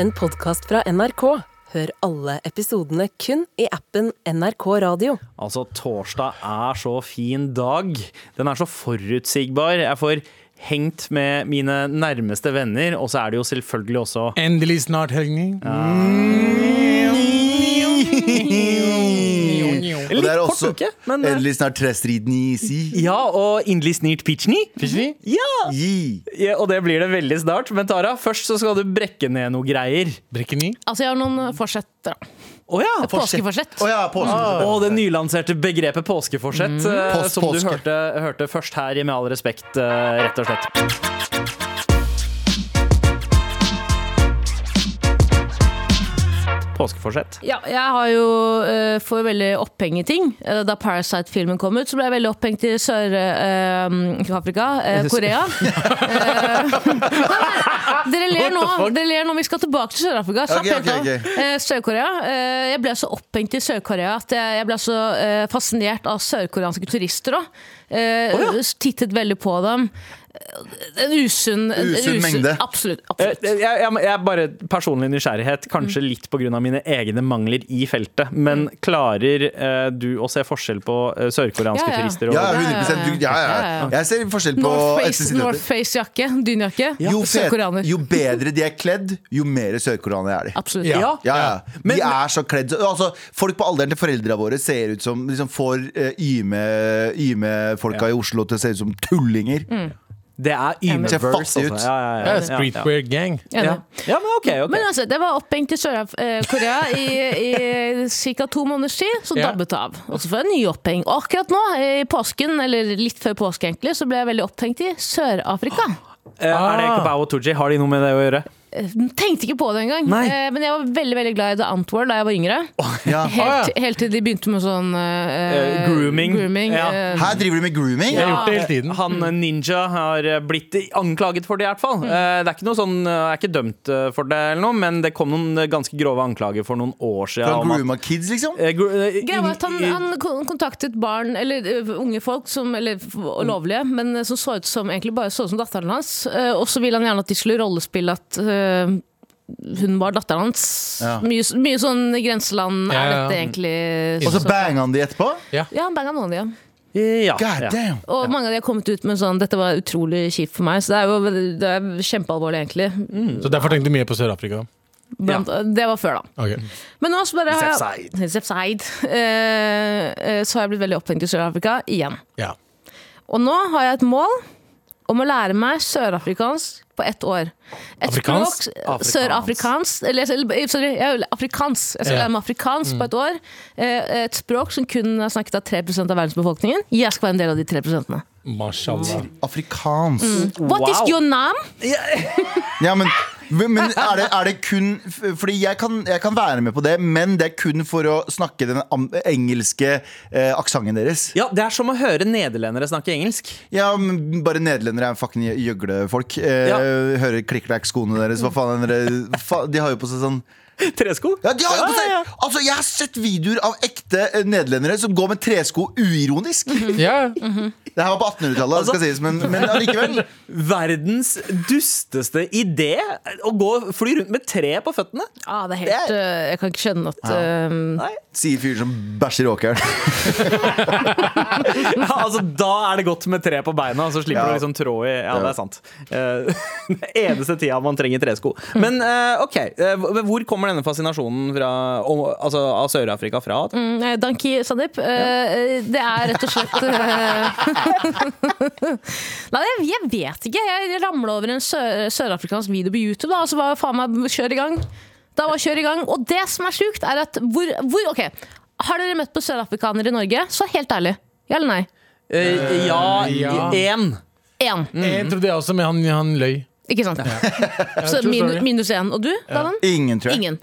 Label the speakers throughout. Speaker 1: en podkast fra NRK. Hør alle episodene kun i appen NRK Radio.
Speaker 2: Altså, torsdag er så fin dag. Den er så forutsigbar. Jeg får hengt med mine nærmeste venner, og så er det jo selvfølgelig også
Speaker 3: Endelig snart helgen.
Speaker 2: En
Speaker 4: Og det
Speaker 2: litt
Speaker 4: er
Speaker 2: kort
Speaker 4: også
Speaker 2: uke, men
Speaker 4: endelig snart trestriden i si.
Speaker 2: Ja, og innlisnert pitchni. Ja.
Speaker 4: Gi.
Speaker 2: ja, og det blir det veldig snart. Men Tara, først så skal du brekke ned noe greier.
Speaker 3: Brekke ni.
Speaker 5: Altså, jeg har noen forsetter. da.
Speaker 2: Å ja!
Speaker 5: Påskeforsett.
Speaker 4: Å ja, påske.
Speaker 2: Og det nylanserte begrepet påskeforsett, eh,
Speaker 4: Post-
Speaker 2: som du
Speaker 4: påske.
Speaker 2: hørte, hørte først her i Med all respekt, eh, rett og slett. Påskeforsett.
Speaker 5: Ja, jeg har jo eh, får veldig oppheng i ting. Eh, Da Parasite-filmen kom ut, så ble jeg veldig opphengt i eh, Sør-Afrika. Korea. Eh, dere ler nå. Dere ler nå, Vi skal tilbake til Sør-Afrika. Slapp
Speaker 4: Ok,
Speaker 5: helt
Speaker 4: ok,
Speaker 5: av.
Speaker 4: ok.
Speaker 5: Eh, Sør-Korea. Eh, jeg ble så opphengt i Sør-Korea at jeg, jeg ble så eh, fascinert av sørkoreanske turister òg. Tittet veldig på dem. Eh, En usunn en
Speaker 4: Usunn mengde.
Speaker 5: Absolutt.
Speaker 2: Eh,
Speaker 5: absolutt.
Speaker 2: Jeg, jeg, jeg bare personlig nysgjerrighet,
Speaker 5: Mm.
Speaker 2: kanskje litt pga. mine egne mangler i feltet. Men klarer eh, du å se forskjell på eh, sørkoreanske
Speaker 5: Ja, ja.
Speaker 2: turister? Og,
Speaker 4: Ja, 100 du, ja, ja.
Speaker 5: Ja, ja.
Speaker 4: Jeg ser forskjell på etter
Speaker 5: Northface
Speaker 4: sine
Speaker 5: North jakke Dynjakke.
Speaker 4: jo, fet-
Speaker 5: Sørkoreaner.
Speaker 4: jo bedre de er kledd, jo mer sørkoreanere er de.
Speaker 5: Absolutt.
Speaker 3: Ja.
Speaker 2: Ja.
Speaker 4: Ja, ja.
Speaker 2: Men-
Speaker 4: de er så kledd så- altså, Folk på alderen til foreldra våre ser ut som liksom, Får eh, yme- yme-folka i Oslo til å se ut som tullinger.
Speaker 2: Det er
Speaker 5: men-
Speaker 2: Universe,
Speaker 4: Ser fattig ut.
Speaker 2: altså. Ja, ja, ja,
Speaker 3: Ja,
Speaker 2: ja, ja.
Speaker 3: streetwear gang.
Speaker 5: Enig.
Speaker 2: Ja. ja, men ok. ok.
Speaker 5: Men altså, det var opphengt i Sør-Korea i, i ca. to måneders tid, så
Speaker 3: Ja.
Speaker 5: dabbet det av. Og så får jeg ny oppheng. Og akkurat nå, eh, i påsken, eller litt før påske egentlig, så ble jeg veldig opphengt i Sør-Afrika.
Speaker 2: Eh, er det
Speaker 3: Ah.
Speaker 2: Kabao og Tooji? Har de noe med det å gjøre?
Speaker 5: Eh, Tenkte ikke på det engang,
Speaker 2: Nei.
Speaker 5: Eh, men jeg var veldig veldig glad i The Antwerp da jeg var yngre.
Speaker 4: Ja.
Speaker 5: Helt, helt til de begynte med sånn eh,
Speaker 2: Eh, grooming. Ja.
Speaker 5: eh,
Speaker 4: Her driver de med grooming!
Speaker 3: Jeg har gjort det hele tiden.
Speaker 2: Han
Speaker 5: Mm.
Speaker 2: eh, ninja har eh, blitt anklaget for det, i hvert fall. Eh, Det er ikke noe sånn, eh, er ikke dømt eh, for det, eller noe, men det kom noen eh, ganske grove anklager for noen år
Speaker 4: For
Speaker 2: siden.
Speaker 4: han
Speaker 2: om at-
Speaker 4: grooma kids, liksom?
Speaker 2: Eh, gro- eh,
Speaker 5: Greia var at han,
Speaker 2: inn- i-
Speaker 5: han kon- kontaktet barn, eller ø, unge folk, som, eller f- lovlige, men ø, som så ut som egentlig bare så ut som datteren hans. Eh, Og så ville han gjerne at de skulle rollespille at ø, hun var datteren hans.
Speaker 4: Ja.
Speaker 5: Mye, s- mye sånn grenseland
Speaker 3: Ja,
Speaker 5: er
Speaker 3: ja.
Speaker 5: dette egentlig.
Speaker 4: Mm. Og så
Speaker 5: så-
Speaker 4: banga han de etterpå?
Speaker 5: Ja, han banga noen av dem.
Speaker 2: Ja.
Speaker 4: God
Speaker 2: ja.
Speaker 4: damn!
Speaker 5: Og mange av de har kommet ut med sånn 'dette var utrolig kjipt for meg'. Så det er jo veld- det er kjempealvorlig, egentlig.
Speaker 3: Så derfor tenkte jeg mye på Sør-Afrika.
Speaker 5: Blant, Det var før, da.
Speaker 3: Ok.
Speaker 5: Men nå så bare har jeg,
Speaker 4: Zepside.
Speaker 5: Zepside. Eh, eh, Så har jeg blitt veldig opphengt i Sør-Afrika igjen.
Speaker 3: Ja.
Speaker 5: Og nå har jeg et mål om å lære meg sørafrikansk på ett år. Et
Speaker 3: Afrikansk?
Speaker 5: språk Sørafrikansk Eller eller- sorry, jeg er afrikansk. Jeg skal
Speaker 3: Ja.
Speaker 5: lære meg afrikansk på ett år. Eh, Et språk som kun er snakket av 3 av verdensbefolkningen. Jeg skal være en del av de 3
Speaker 3: Mashallah.
Speaker 5: Mm.
Speaker 4: Afrikansk.
Speaker 5: What
Speaker 2: Wow.
Speaker 5: is your name?
Speaker 4: Ja, men, men er, det, er det kun Fordi jeg kan, jeg kan være med på det, men det er kun for å snakke den am- engelske eh, aksenten deres.
Speaker 2: Ja, det er som å høre nederlendere snakke engelsk.
Speaker 4: Ja, men bare nederlendere er fucking gjøglefolk. Eh,
Speaker 2: Ja.
Speaker 4: Hører klikk-klakk-skoene deres. Hva faen er dere fa, De har jo på seg sånn
Speaker 2: Tresko?
Speaker 4: ja, de har jo på
Speaker 2: Ja,
Speaker 4: seg, altså, Jeg har sett videoer av ekte eh, nederlendere som går med tresko uironisk.
Speaker 2: Mhm.
Speaker 3: Ja.
Speaker 5: Mm-hmm.
Speaker 4: Det her var på 1800-tallet,
Speaker 2: Altså.
Speaker 4: det skal sies, men, men allikevel.
Speaker 2: Verdens dusteste idé! Å gå, fly rundt med tre på føttene.
Speaker 5: Ah, det er helt,
Speaker 2: Det
Speaker 5: eh, jeg kan ikke skjønne at eh,
Speaker 2: Nei.
Speaker 4: Sier fyren som bæsjer i åkeren.
Speaker 2: Ja, altså, da er det godt med tre på beina, så slipper
Speaker 4: Ja.
Speaker 2: du liksom trå i Ja, det er sant. Eh, eneste tida man trenger tresko. Men eh, OK, eh, hvor kommer denne fascinasjonen fra, om- altså, av Sør-Afrika fra?
Speaker 5: Mm, Danki Sandeep. eh, Det er rett og slett eh, Nei, jeg, jeg vet ikke. Jeg ramla over en sør- sørafrikansk video på YouTube, da, og så var faen meg kjør i gang. Da var kjør i gang. Og det som er sjukt, er at hvor, hvor OK. Har dere møtt på sørafrikanere i Norge? Så helt ærlig. Ja eller nei?
Speaker 2: Eh, ja,
Speaker 3: ja.
Speaker 2: én.
Speaker 5: Én.
Speaker 3: Jeg trodde jeg også, men han, han løy.
Speaker 5: Ikke sant? Så
Speaker 3: true
Speaker 5: min,
Speaker 3: story.
Speaker 5: minus én. Og du, Danan?
Speaker 4: Ingen, tror jeg.
Speaker 5: Ingen.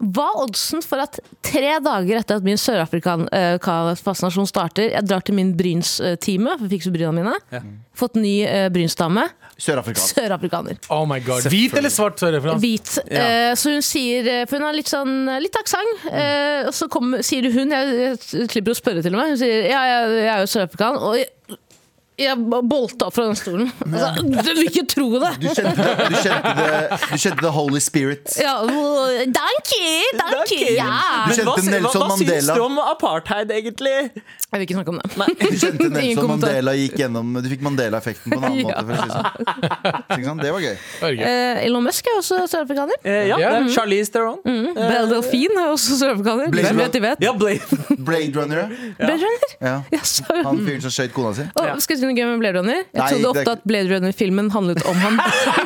Speaker 5: Hva er oddsen for at tre dager etter at min Sør-Afrika-fascinasjon starter, jeg drar til min brynstime, for jeg fikser bryna mine, fått ny eh, brynsdame,
Speaker 4: Sørafrikansk.
Speaker 5: sørafrikaner.
Speaker 3: Oh my god. Hvit eller svart sørreferanse?
Speaker 5: Hvit. Eh, så hun sier eh, For hun har litt sånn eh, litt aksent.
Speaker 4: Mm.
Speaker 5: Eh, og så kommer- sier hun jeg, jeg slipper å spørre, til og med. Hun sier ja, jeg, jeg er jo sørafrikan. Og jeg, jeg b- bolta opp fra den stolen. Altså, du vil ikke tro det!
Speaker 4: Du kjente, det- du, kjente det, du kjente The Holy Spirit.
Speaker 5: Ja, øh, danke, danke,
Speaker 2: Danke.
Speaker 5: ja.
Speaker 4: Du
Speaker 2: Men hva,
Speaker 4: kjente
Speaker 2: hva,
Speaker 4: Nelson
Speaker 2: hva syns
Speaker 4: Mandela.
Speaker 2: du om apartheid, egentlig?
Speaker 5: Jeg vil ikke snakke om det.
Speaker 4: Du kjente
Speaker 5: Ingen
Speaker 4: Nelson
Speaker 5: kommentar.
Speaker 4: Mandela gikk gjennom Du fikk Mandela-effekten på en annen
Speaker 5: Ja.
Speaker 4: måte. For å si det sånn. Ikke sant? Det var gøy.
Speaker 3: Norge.
Speaker 5: Eh, Elon Musk er også Eh, sørafrikaner.
Speaker 2: Eh, ja,
Speaker 3: Ja.
Speaker 2: det er Charlize Theron.
Speaker 5: Belle Delphine Mm. er også sørafrikaner.
Speaker 4: Blade
Speaker 5: Hvem
Speaker 4: Runner.
Speaker 5: vet, de vet.
Speaker 2: Ja, Blade.
Speaker 4: Blade Runner.
Speaker 5: Blade Runner?
Speaker 4: Ja.
Speaker 5: Ja, søren.
Speaker 4: Han fyren som skjøt kona si.
Speaker 5: Å, skal jeg si noe gøy med Blade Runner? Jeg
Speaker 4: Nei, det
Speaker 5: trodde
Speaker 4: er
Speaker 5: ofte
Speaker 4: ikke-
Speaker 5: at Blade Runner-filmen handlet om han.
Speaker 4: Nei, det gjorde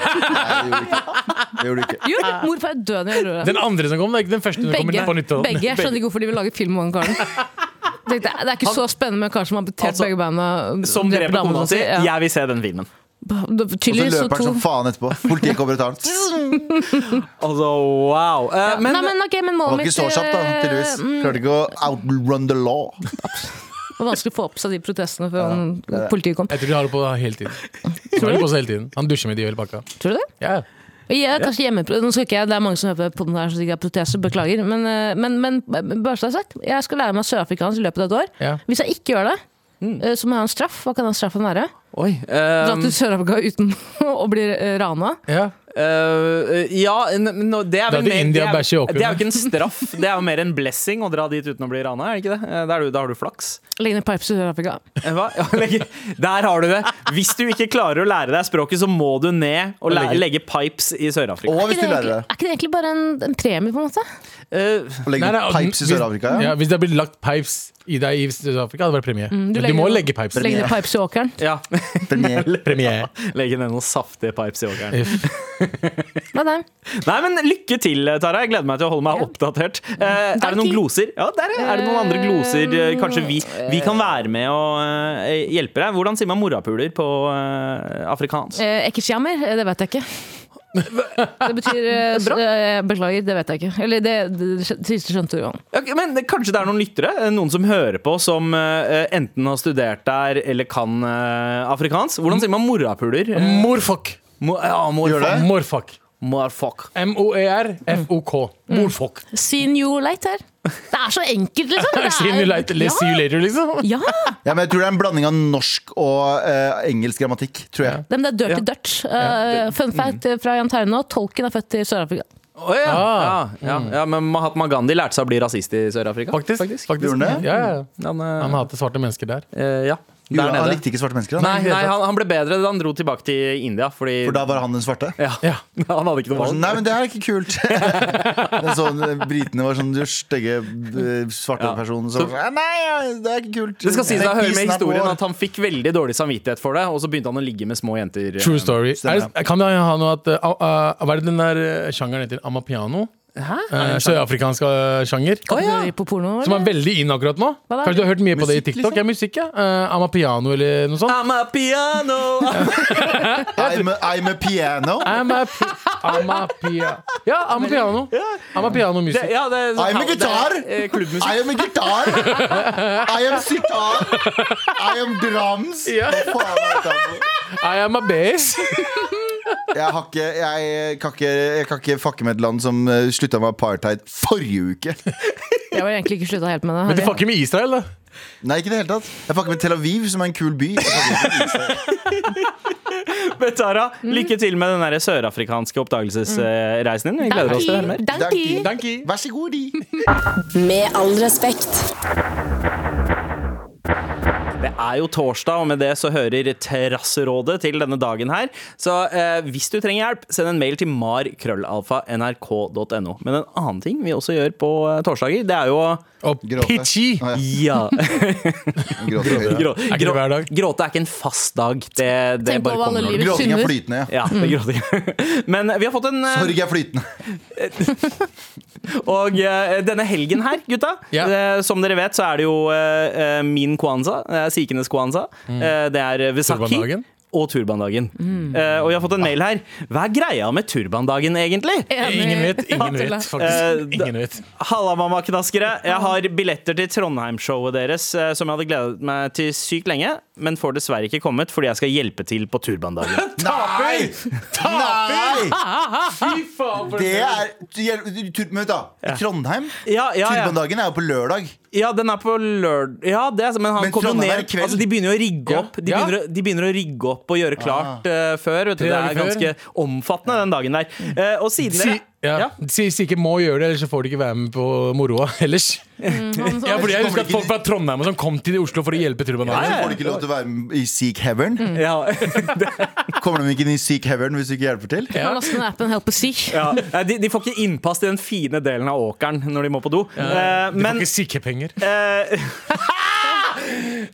Speaker 4: du ikke. Det gjorde du ikke.
Speaker 5: Jo, morfar er død når jeg gjorde det.
Speaker 3: Den andre som kom, det er ikke den første som
Speaker 5: Begge.
Speaker 3: kommer på nytt.
Speaker 5: begge. Jeg skjønner ikke hvorfor de vil lage film om han karen. Tenkte jeg, Det er ikke så spennende med en kar som har betalt
Speaker 2: Altså,
Speaker 5: begge beina. og
Speaker 2: Som
Speaker 5: dreper
Speaker 2: dreper
Speaker 5: damene
Speaker 2: kona si.
Speaker 5: Ja.
Speaker 2: Jeg vil se den filmen.
Speaker 5: Da-
Speaker 4: Og så
Speaker 5: Tydeligvis så
Speaker 4: løper han
Speaker 5: to
Speaker 4: som faen etterpå. Politiet kommer og tar han.
Speaker 2: Altså, wow. Eh,
Speaker 5: Ja,
Speaker 2: men,
Speaker 5: Nei, men ok, men
Speaker 4: Han var
Speaker 5: målet
Speaker 4: ikke
Speaker 5: mitt
Speaker 4: så kjapp, da.
Speaker 5: eh,
Speaker 4: Tydeligvis. Klarte ikke å outrun the law.
Speaker 5: Det var vanskelig å få opp seg de protestene før han-
Speaker 4: det er-
Speaker 5: politiet kom.
Speaker 3: Jeg tror de har det på hele tiden. De har det på seg hele tiden. Han dusjer med de hele pakka.
Speaker 5: Tror du det?
Speaker 3: Ja.
Speaker 5: Ja, kanskje hjemmepro... Nå skal ikke jeg, det er mange som hører på podden her som sikkert har protester, beklager. Men, eh, men, men bare så det er sagt, jeg skal lære meg sørafrikansk i løpet av et år.
Speaker 3: Ja.
Speaker 5: Hvis jeg ikke gjør det, eh, så må jeg ha en straff. Hva kan den straffen være?
Speaker 2: oi. eh,
Speaker 5: Dra til Sør-Afrika uten å bli eh, rana?
Speaker 3: Ja.
Speaker 2: eh, ja, n- n- nå- det er
Speaker 3: Da
Speaker 2: vel
Speaker 3: er det
Speaker 2: mer det
Speaker 3: India
Speaker 2: er,
Speaker 3: bæsjer i åkeren.
Speaker 2: det er jo ikke en straff, det er jo mer en blessing å dra dit uten å bli rana. Er det ikke det? Eh, Da, er du, da har du flaks.
Speaker 5: Legge ned pipes i Sør-Afrika.
Speaker 2: Eh, Hva? Ja, legge- Der har du det! Hvis du ikke klarer å lære deg språket, så må du ned og læ- legge pipes i Sør-Afrika.
Speaker 4: Og
Speaker 5: Er
Speaker 4: hvis
Speaker 5: ikke
Speaker 4: du
Speaker 5: det
Speaker 4: lærer
Speaker 5: egentlig-
Speaker 4: deg
Speaker 5: er ikke det egentlig bare en, en premie, på en måte?
Speaker 2: Eh,
Speaker 4: å
Speaker 3: Nei,
Speaker 4: legge
Speaker 3: nei,
Speaker 4: ut pipes i
Speaker 3: hvis-
Speaker 4: Sør-Afrika ja.
Speaker 3: Ja, hvis det hadde blitt lagt pipes i deg i Sør-Afrika, hadde det vært premie.
Speaker 5: Mm, du
Speaker 3: du,
Speaker 5: legger
Speaker 3: må
Speaker 5: jo-
Speaker 3: legge pipes.
Speaker 5: Legge ned pipes i åkeren.
Speaker 2: ja.
Speaker 4: Premier.
Speaker 3: Premie.
Speaker 2: Legge ned noen saftige pipes i åkeren.
Speaker 3: Uff.
Speaker 5: Nei, nei.
Speaker 2: Nei, men Lykke til, Tara. Jeg gleder meg til å holde meg
Speaker 5: Ja. Mm.
Speaker 2: oppdatert. Eh, er det noen gloser? Ja, der er er det noen andre gloser. eh, Kanskje vi, vi kan være med og eh, hjelpe deg. Hvordan sier man morapuler på eh, afrikansk?
Speaker 5: Eh, Ekkesjammer, eh, det vet jeg ikke. Det betyr eh, s- eh, Beklager, det vet jeg ikke. Eller det, det, det siste skjønte du jo.
Speaker 2: Ok, men det- Kanskje det er noen lyttere, eh, noen som hører på, som eh, enten har studert der eller kan eh, afrikansk. Hvordan sier man morapuler? Eh,
Speaker 3: Morfuck.
Speaker 2: mo- ja, morfuck.
Speaker 4: Gjør det?
Speaker 3: Morfuck.
Speaker 2: Morfuck.
Speaker 3: E M-o-e-r-f-o-k. Morfuck.
Speaker 5: See you later. Det er så enkelt, liksom. Det er-
Speaker 3: See you later, let's see you later, liksom.
Speaker 5: Ja, ja.
Speaker 4: Ja, men jeg tror det er en blanding av norsk og eh, engelsk grammatikk, tror jeg.
Speaker 5: Det, men det er dirty dirt. Eh, fun
Speaker 3: mm.
Speaker 5: fact eh, fra Jan Terje nå, tolken er født i Sør-Afrika.
Speaker 2: Å ja.
Speaker 3: Ah.
Speaker 2: Ja, ja, ja! Men Mahatma Gandhi lærte seg å bli rasist i Sør-Afrika.
Speaker 3: Faktisk. faktisk.
Speaker 4: Gjorde han det?
Speaker 3: Ja, ja.
Speaker 2: Han, eh,
Speaker 3: Han hater svarte mennesker der.
Speaker 2: eh, ja.
Speaker 4: Jo,
Speaker 2: Der
Speaker 4: han
Speaker 2: nede.
Speaker 4: likte ikke svarte mennesker. Han.
Speaker 2: Nei, nei han, han ble bedre da han dro tilbake til India. Fordi,
Speaker 4: For da var han den svarte.
Speaker 2: ja.
Speaker 3: Ja.
Speaker 2: Han hadde ikke noe
Speaker 4: Og
Speaker 2: valg.
Speaker 4: sånn, Nei, men det her er ikke kult. Det er sånn, eh, britene var sånn du stygge eh, svarte
Speaker 2: Ja.
Speaker 4: personen som eh, Nei, det er ikke kult.
Speaker 2: Det skal sies
Speaker 4: Nei,
Speaker 2: å høre med
Speaker 4: prisen er på-
Speaker 2: historien at han fikk veldig dårlig samvittighet for det, og så begynte han å ligge med små jenter.
Speaker 3: True story. Er
Speaker 4: Stemmer.
Speaker 3: det, kan det ha noe at uh, uh, Hva er det den der uh, sjangeren heter? Amapiano?
Speaker 2: Hæ?
Speaker 3: Uh, Sørafrikansk uh, sjanger.
Speaker 5: Kan
Speaker 2: Å, ja.
Speaker 5: du høre På porno,
Speaker 3: Som er
Speaker 5: eller?
Speaker 3: veldig inn akkurat nå.
Speaker 5: Hva da?
Speaker 3: Kanskje du har hørt mye på det i
Speaker 4: Musikk,
Speaker 3: TikTok?
Speaker 4: liksom?
Speaker 3: Ja, musikk, ja. Uh, Amapiano eller noe sånt.
Speaker 2: I'm a piano
Speaker 4: I'm a, I'm a piano.
Speaker 3: Amapi... Amapia... Ja, Amapiano. Amapiano
Speaker 2: det,
Speaker 3: music.
Speaker 2: ja, det, er sånn-
Speaker 4: I'm a
Speaker 2: det er,
Speaker 4: guitar.
Speaker 2: eh, Klubbmusikk.
Speaker 4: I am a guitar. I am sitar. I am drums.
Speaker 3: Ja.
Speaker 4: Hva faen er dette for?
Speaker 3: I am a bass.
Speaker 4: Jeg, har ikke, jeg, kan ikke, jeg kan ikke fucke med et land som eh, slutta med apartheid forrige uke.
Speaker 5: Jeg var egentlig ikke slutta helt med det.
Speaker 3: Men du
Speaker 5: Harry.
Speaker 3: fucker med Israel, da.
Speaker 4: Nei, ikke i det hele tatt. Jeg fucker med Tel Aviv, som er en kul by. Jeg fucker ikke med Israel.
Speaker 2: Men Tara, lykke til med den der sørafrikanske oppdagelsesreisen din. Vi gleder oss til å høre mer.
Speaker 5: Danke.
Speaker 4: Danke.
Speaker 3: Danke.
Speaker 4: Vær så god, de.
Speaker 1: Med all respekt.
Speaker 2: Det er jo torsdag, og med det så hører Terrasserådet til denne dagen her. Så eh, hvis du trenger hjelp, send en mail til markrøllalfa.nrk.no. Men en annen ting vi også gjør på eh, torsdager, det er jo å
Speaker 3: Og
Speaker 4: Gråte.
Speaker 3: Pitchy.
Speaker 4: Ah, ja.
Speaker 2: Ja.
Speaker 4: Gråter høyere.
Speaker 2: Grå,
Speaker 3: Er ikke det hver dag?
Speaker 2: Gråte er ikke en fast dag. Det, det
Speaker 5: Tenk på
Speaker 2: bare
Speaker 5: hva
Speaker 2: kommer
Speaker 5: alle
Speaker 2: når du-
Speaker 5: livet
Speaker 4: Gråting er
Speaker 5: synder.
Speaker 4: flytende. Ja.
Speaker 2: Ja, det er gråting. Men vi har fått en eh,
Speaker 4: Sorg er flytende.
Speaker 2: Og eh, denne helgen her, gutta
Speaker 3: Ja.
Speaker 2: eh, Som dere vet,
Speaker 3: Mm.
Speaker 2: så er det jo eh, eh, min kwanza. eh, Sikenes kwanza. Eh, det er eh, Vesaki.
Speaker 3: Solvanndagen.
Speaker 2: og turbandagen. Eh, og jeg har fått en mail her. Hva er greia med turbandagen, egentlig?
Speaker 3: Ingen vet, ingen
Speaker 2: Eh,
Speaker 3: vet, faktisk.
Speaker 2: da-
Speaker 3: Ingen vet.
Speaker 2: Halla, mammaknaskere. Jeg har billetter til Trondheimshowet deres eh, som jeg hadde gledet meg til sykt lenge, men får dessverre ikke kommet fordi jeg skal hjelpe til på turbandagen.
Speaker 4: Nei! Nei!
Speaker 3: Fy faen, for
Speaker 4: Det er du- du- du- Men vent, da. I Trondheim?
Speaker 2: Ja, ja, ja.
Speaker 4: Turbandagen er jo på lørdag.
Speaker 2: ja den er på lørd... Ja, det er, men han
Speaker 4: Men
Speaker 2: kommer jo
Speaker 4: Trondheim er i
Speaker 2: ned
Speaker 4: kveld.
Speaker 2: altså, De begynner jo å rigge
Speaker 3: Ja.
Speaker 2: opp De
Speaker 3: Ja.
Speaker 2: begynner, å- de begynner å rigge opp og gjøre
Speaker 4: Ah.
Speaker 2: klart eh, før. Vet du.
Speaker 3: Tre
Speaker 2: Det
Speaker 3: dager
Speaker 2: er ganske omfattende den dagen der. Eh, og siden
Speaker 3: Si,
Speaker 2: dere
Speaker 3: ja.
Speaker 2: Ja.
Speaker 3: si, si ikke må gjøre det, ellers så får du ikke være med på moroa ellers. Ja, fordi jeg husker at folk fra Trondheim og sånn kom til Oslo for å hjelpe
Speaker 4: Så
Speaker 3: Turbandagen.
Speaker 4: får du ikke lov til å være med i Seek Heaven.
Speaker 2: Mm. ja.
Speaker 4: Kommer de ikke inn i Seek Heaven hvis du ikke hjelper til?
Speaker 5: Kan laste ned appen Help us seek.
Speaker 2: Ja, nei, de, de får ikke innpass i den fine delen av åkeren når de må på do. Eh,
Speaker 3: Du får
Speaker 2: men
Speaker 3: ikke sykepenger.
Speaker 2: eh,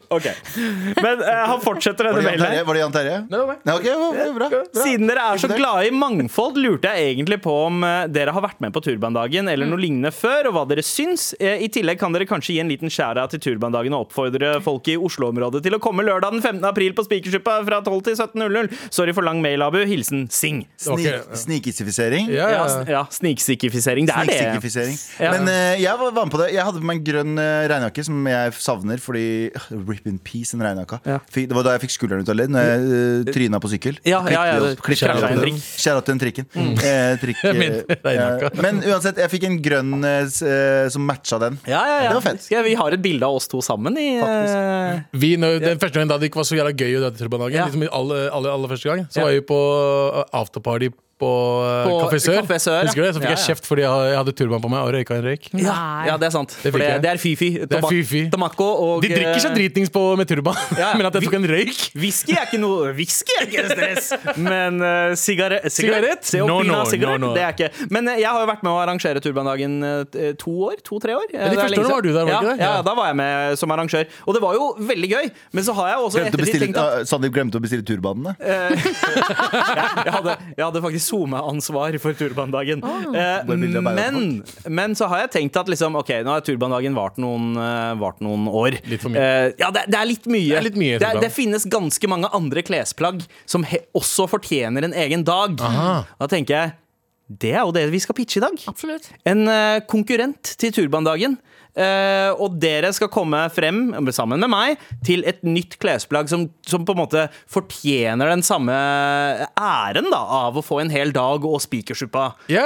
Speaker 2: OK. Men eh, han fortsetter
Speaker 4: Var
Speaker 2: denne
Speaker 4: det Jan
Speaker 2: mailen.
Speaker 4: Terje? Var det Jan Terje?
Speaker 3: det var meg.
Speaker 4: Nei, ok, bra, bra, bra.
Speaker 2: Siden dere er så
Speaker 4: Imponert.
Speaker 2: glade i mangfold, lurte jeg egentlig på om eh, dere har vært med på Turbandagen eller
Speaker 3: Mm.
Speaker 2: noe lignende før, og hva dere syns. Eh, I tillegg kan dere kanskje gi en liten skjæra til Turbandagen og oppfordre folk i Oslo-området til å komme lørdag den 15. april på Spikersuppa fra 12 til 17.00. Sorry for lang mail, Abu. Hilsen Sing.
Speaker 4: Snik, snikisifisering.
Speaker 3: Ja,
Speaker 2: Ja, altså,
Speaker 3: ja.
Speaker 2: s- ja sniksikifisering. Det er det.
Speaker 4: Sniksikifisering.
Speaker 2: Ja.
Speaker 4: Men eh, jeg var, var med på det. Jeg hadde på meg en grønn eh, regnjakke, som jeg savner fordi øh, Rip in peace, den regnjakka.
Speaker 2: Ja. Eh,
Speaker 4: Fikk- Det var da jeg fikk skulderen ut av ledd, når jeg uh, tryna på sykkel.
Speaker 2: Ja, ja, ja,
Speaker 4: Klippet
Speaker 2: det-
Speaker 4: opp- klippet
Speaker 2: krasjet i
Speaker 4: opp-
Speaker 2: en Mm. drikk.
Speaker 4: Skjæra til den trikken. Eh, trikk, eh,
Speaker 3: Min regnjakke.
Speaker 4: eh, men uansett, jeg fikk en grønn eh, s- eh, som matcha den.
Speaker 2: Ja, ja, ja.
Speaker 4: Det var fett.
Speaker 2: Skal jeg- vi har et bilde av oss to sammen i eh,
Speaker 3: Vi, når, den første gangen da det ikke var så jævla gøy å dra til Turbandagen,
Speaker 2: Ja.
Speaker 3: liksom aller, aller, aller første gang, så
Speaker 2: Ja.
Speaker 3: var vi på uh, afterparty på, på
Speaker 2: På
Speaker 3: Café Sør.
Speaker 2: Café Sør, ja.
Speaker 3: Husker du det? Så fikk
Speaker 2: Ja,
Speaker 3: jeg
Speaker 2: ja.
Speaker 3: kjeft fordi jeg, jeg hadde turban på meg og røyka en røyk.
Speaker 5: Nei.
Speaker 2: ja, det er sant. Det,
Speaker 3: fikk
Speaker 2: det,
Speaker 3: jeg.
Speaker 2: det er Fifi.
Speaker 3: er Fifi.
Speaker 2: Tobacco og
Speaker 3: De drikker seg dritings på med turban,
Speaker 2: Ja, ja.
Speaker 3: men at jeg tok en røyk
Speaker 2: Whisky er ikke noe Whisky er ikke stress, men eh, sigare- sigarett
Speaker 3: Sigarett? No, no,
Speaker 2: Sigarett? Sigarett?
Speaker 3: no, no.
Speaker 2: Det er ikke Men eh, jeg har jo vært med å arrangere Turbandagen eh, to år. To-tre år. Eh,
Speaker 3: de
Speaker 2: det er
Speaker 3: første
Speaker 2: lenge
Speaker 3: årene var
Speaker 2: siden.
Speaker 3: du der, var
Speaker 2: ja,
Speaker 3: du ikke det?
Speaker 2: Ja,
Speaker 3: Ja.
Speaker 2: da var jeg med som arrangør. Og det var jo veldig gøy, men så har jeg Eh, også
Speaker 4: Glemte å
Speaker 2: ettertid
Speaker 4: bestille,
Speaker 2: tenkt at
Speaker 4: ah, Sandeep glemte å bestille turbanene.
Speaker 2: jeg hadde, jeg hadde faktisk SoMe-ansvar for Turbandagen. Eh,
Speaker 4: Bare bilder av beina til
Speaker 2: men, men så har jeg tenkt at liksom, ok, nå har Turbandagen vart noen, eh, vart noen år.
Speaker 3: Litt for mye.
Speaker 2: Eh, ja, det, det er litt mye.
Speaker 3: Det er litt mye,
Speaker 2: det,
Speaker 3: turban.
Speaker 2: det finnes ganske mange andre klesplagg som he, også fortjener en egen dag.
Speaker 3: Aha.
Speaker 2: Da tenker jeg det er jo det vi skal pitche i dag.
Speaker 5: Absolutt.
Speaker 2: En eh, konkurrent til Turbandagen. Eh, og dere skal komme frem, sammen med meg, til et nytt klesplagg som, som på en måte fortjener den samme eh, æren da av å få en hel dag og spikersuppa.
Speaker 3: Ja.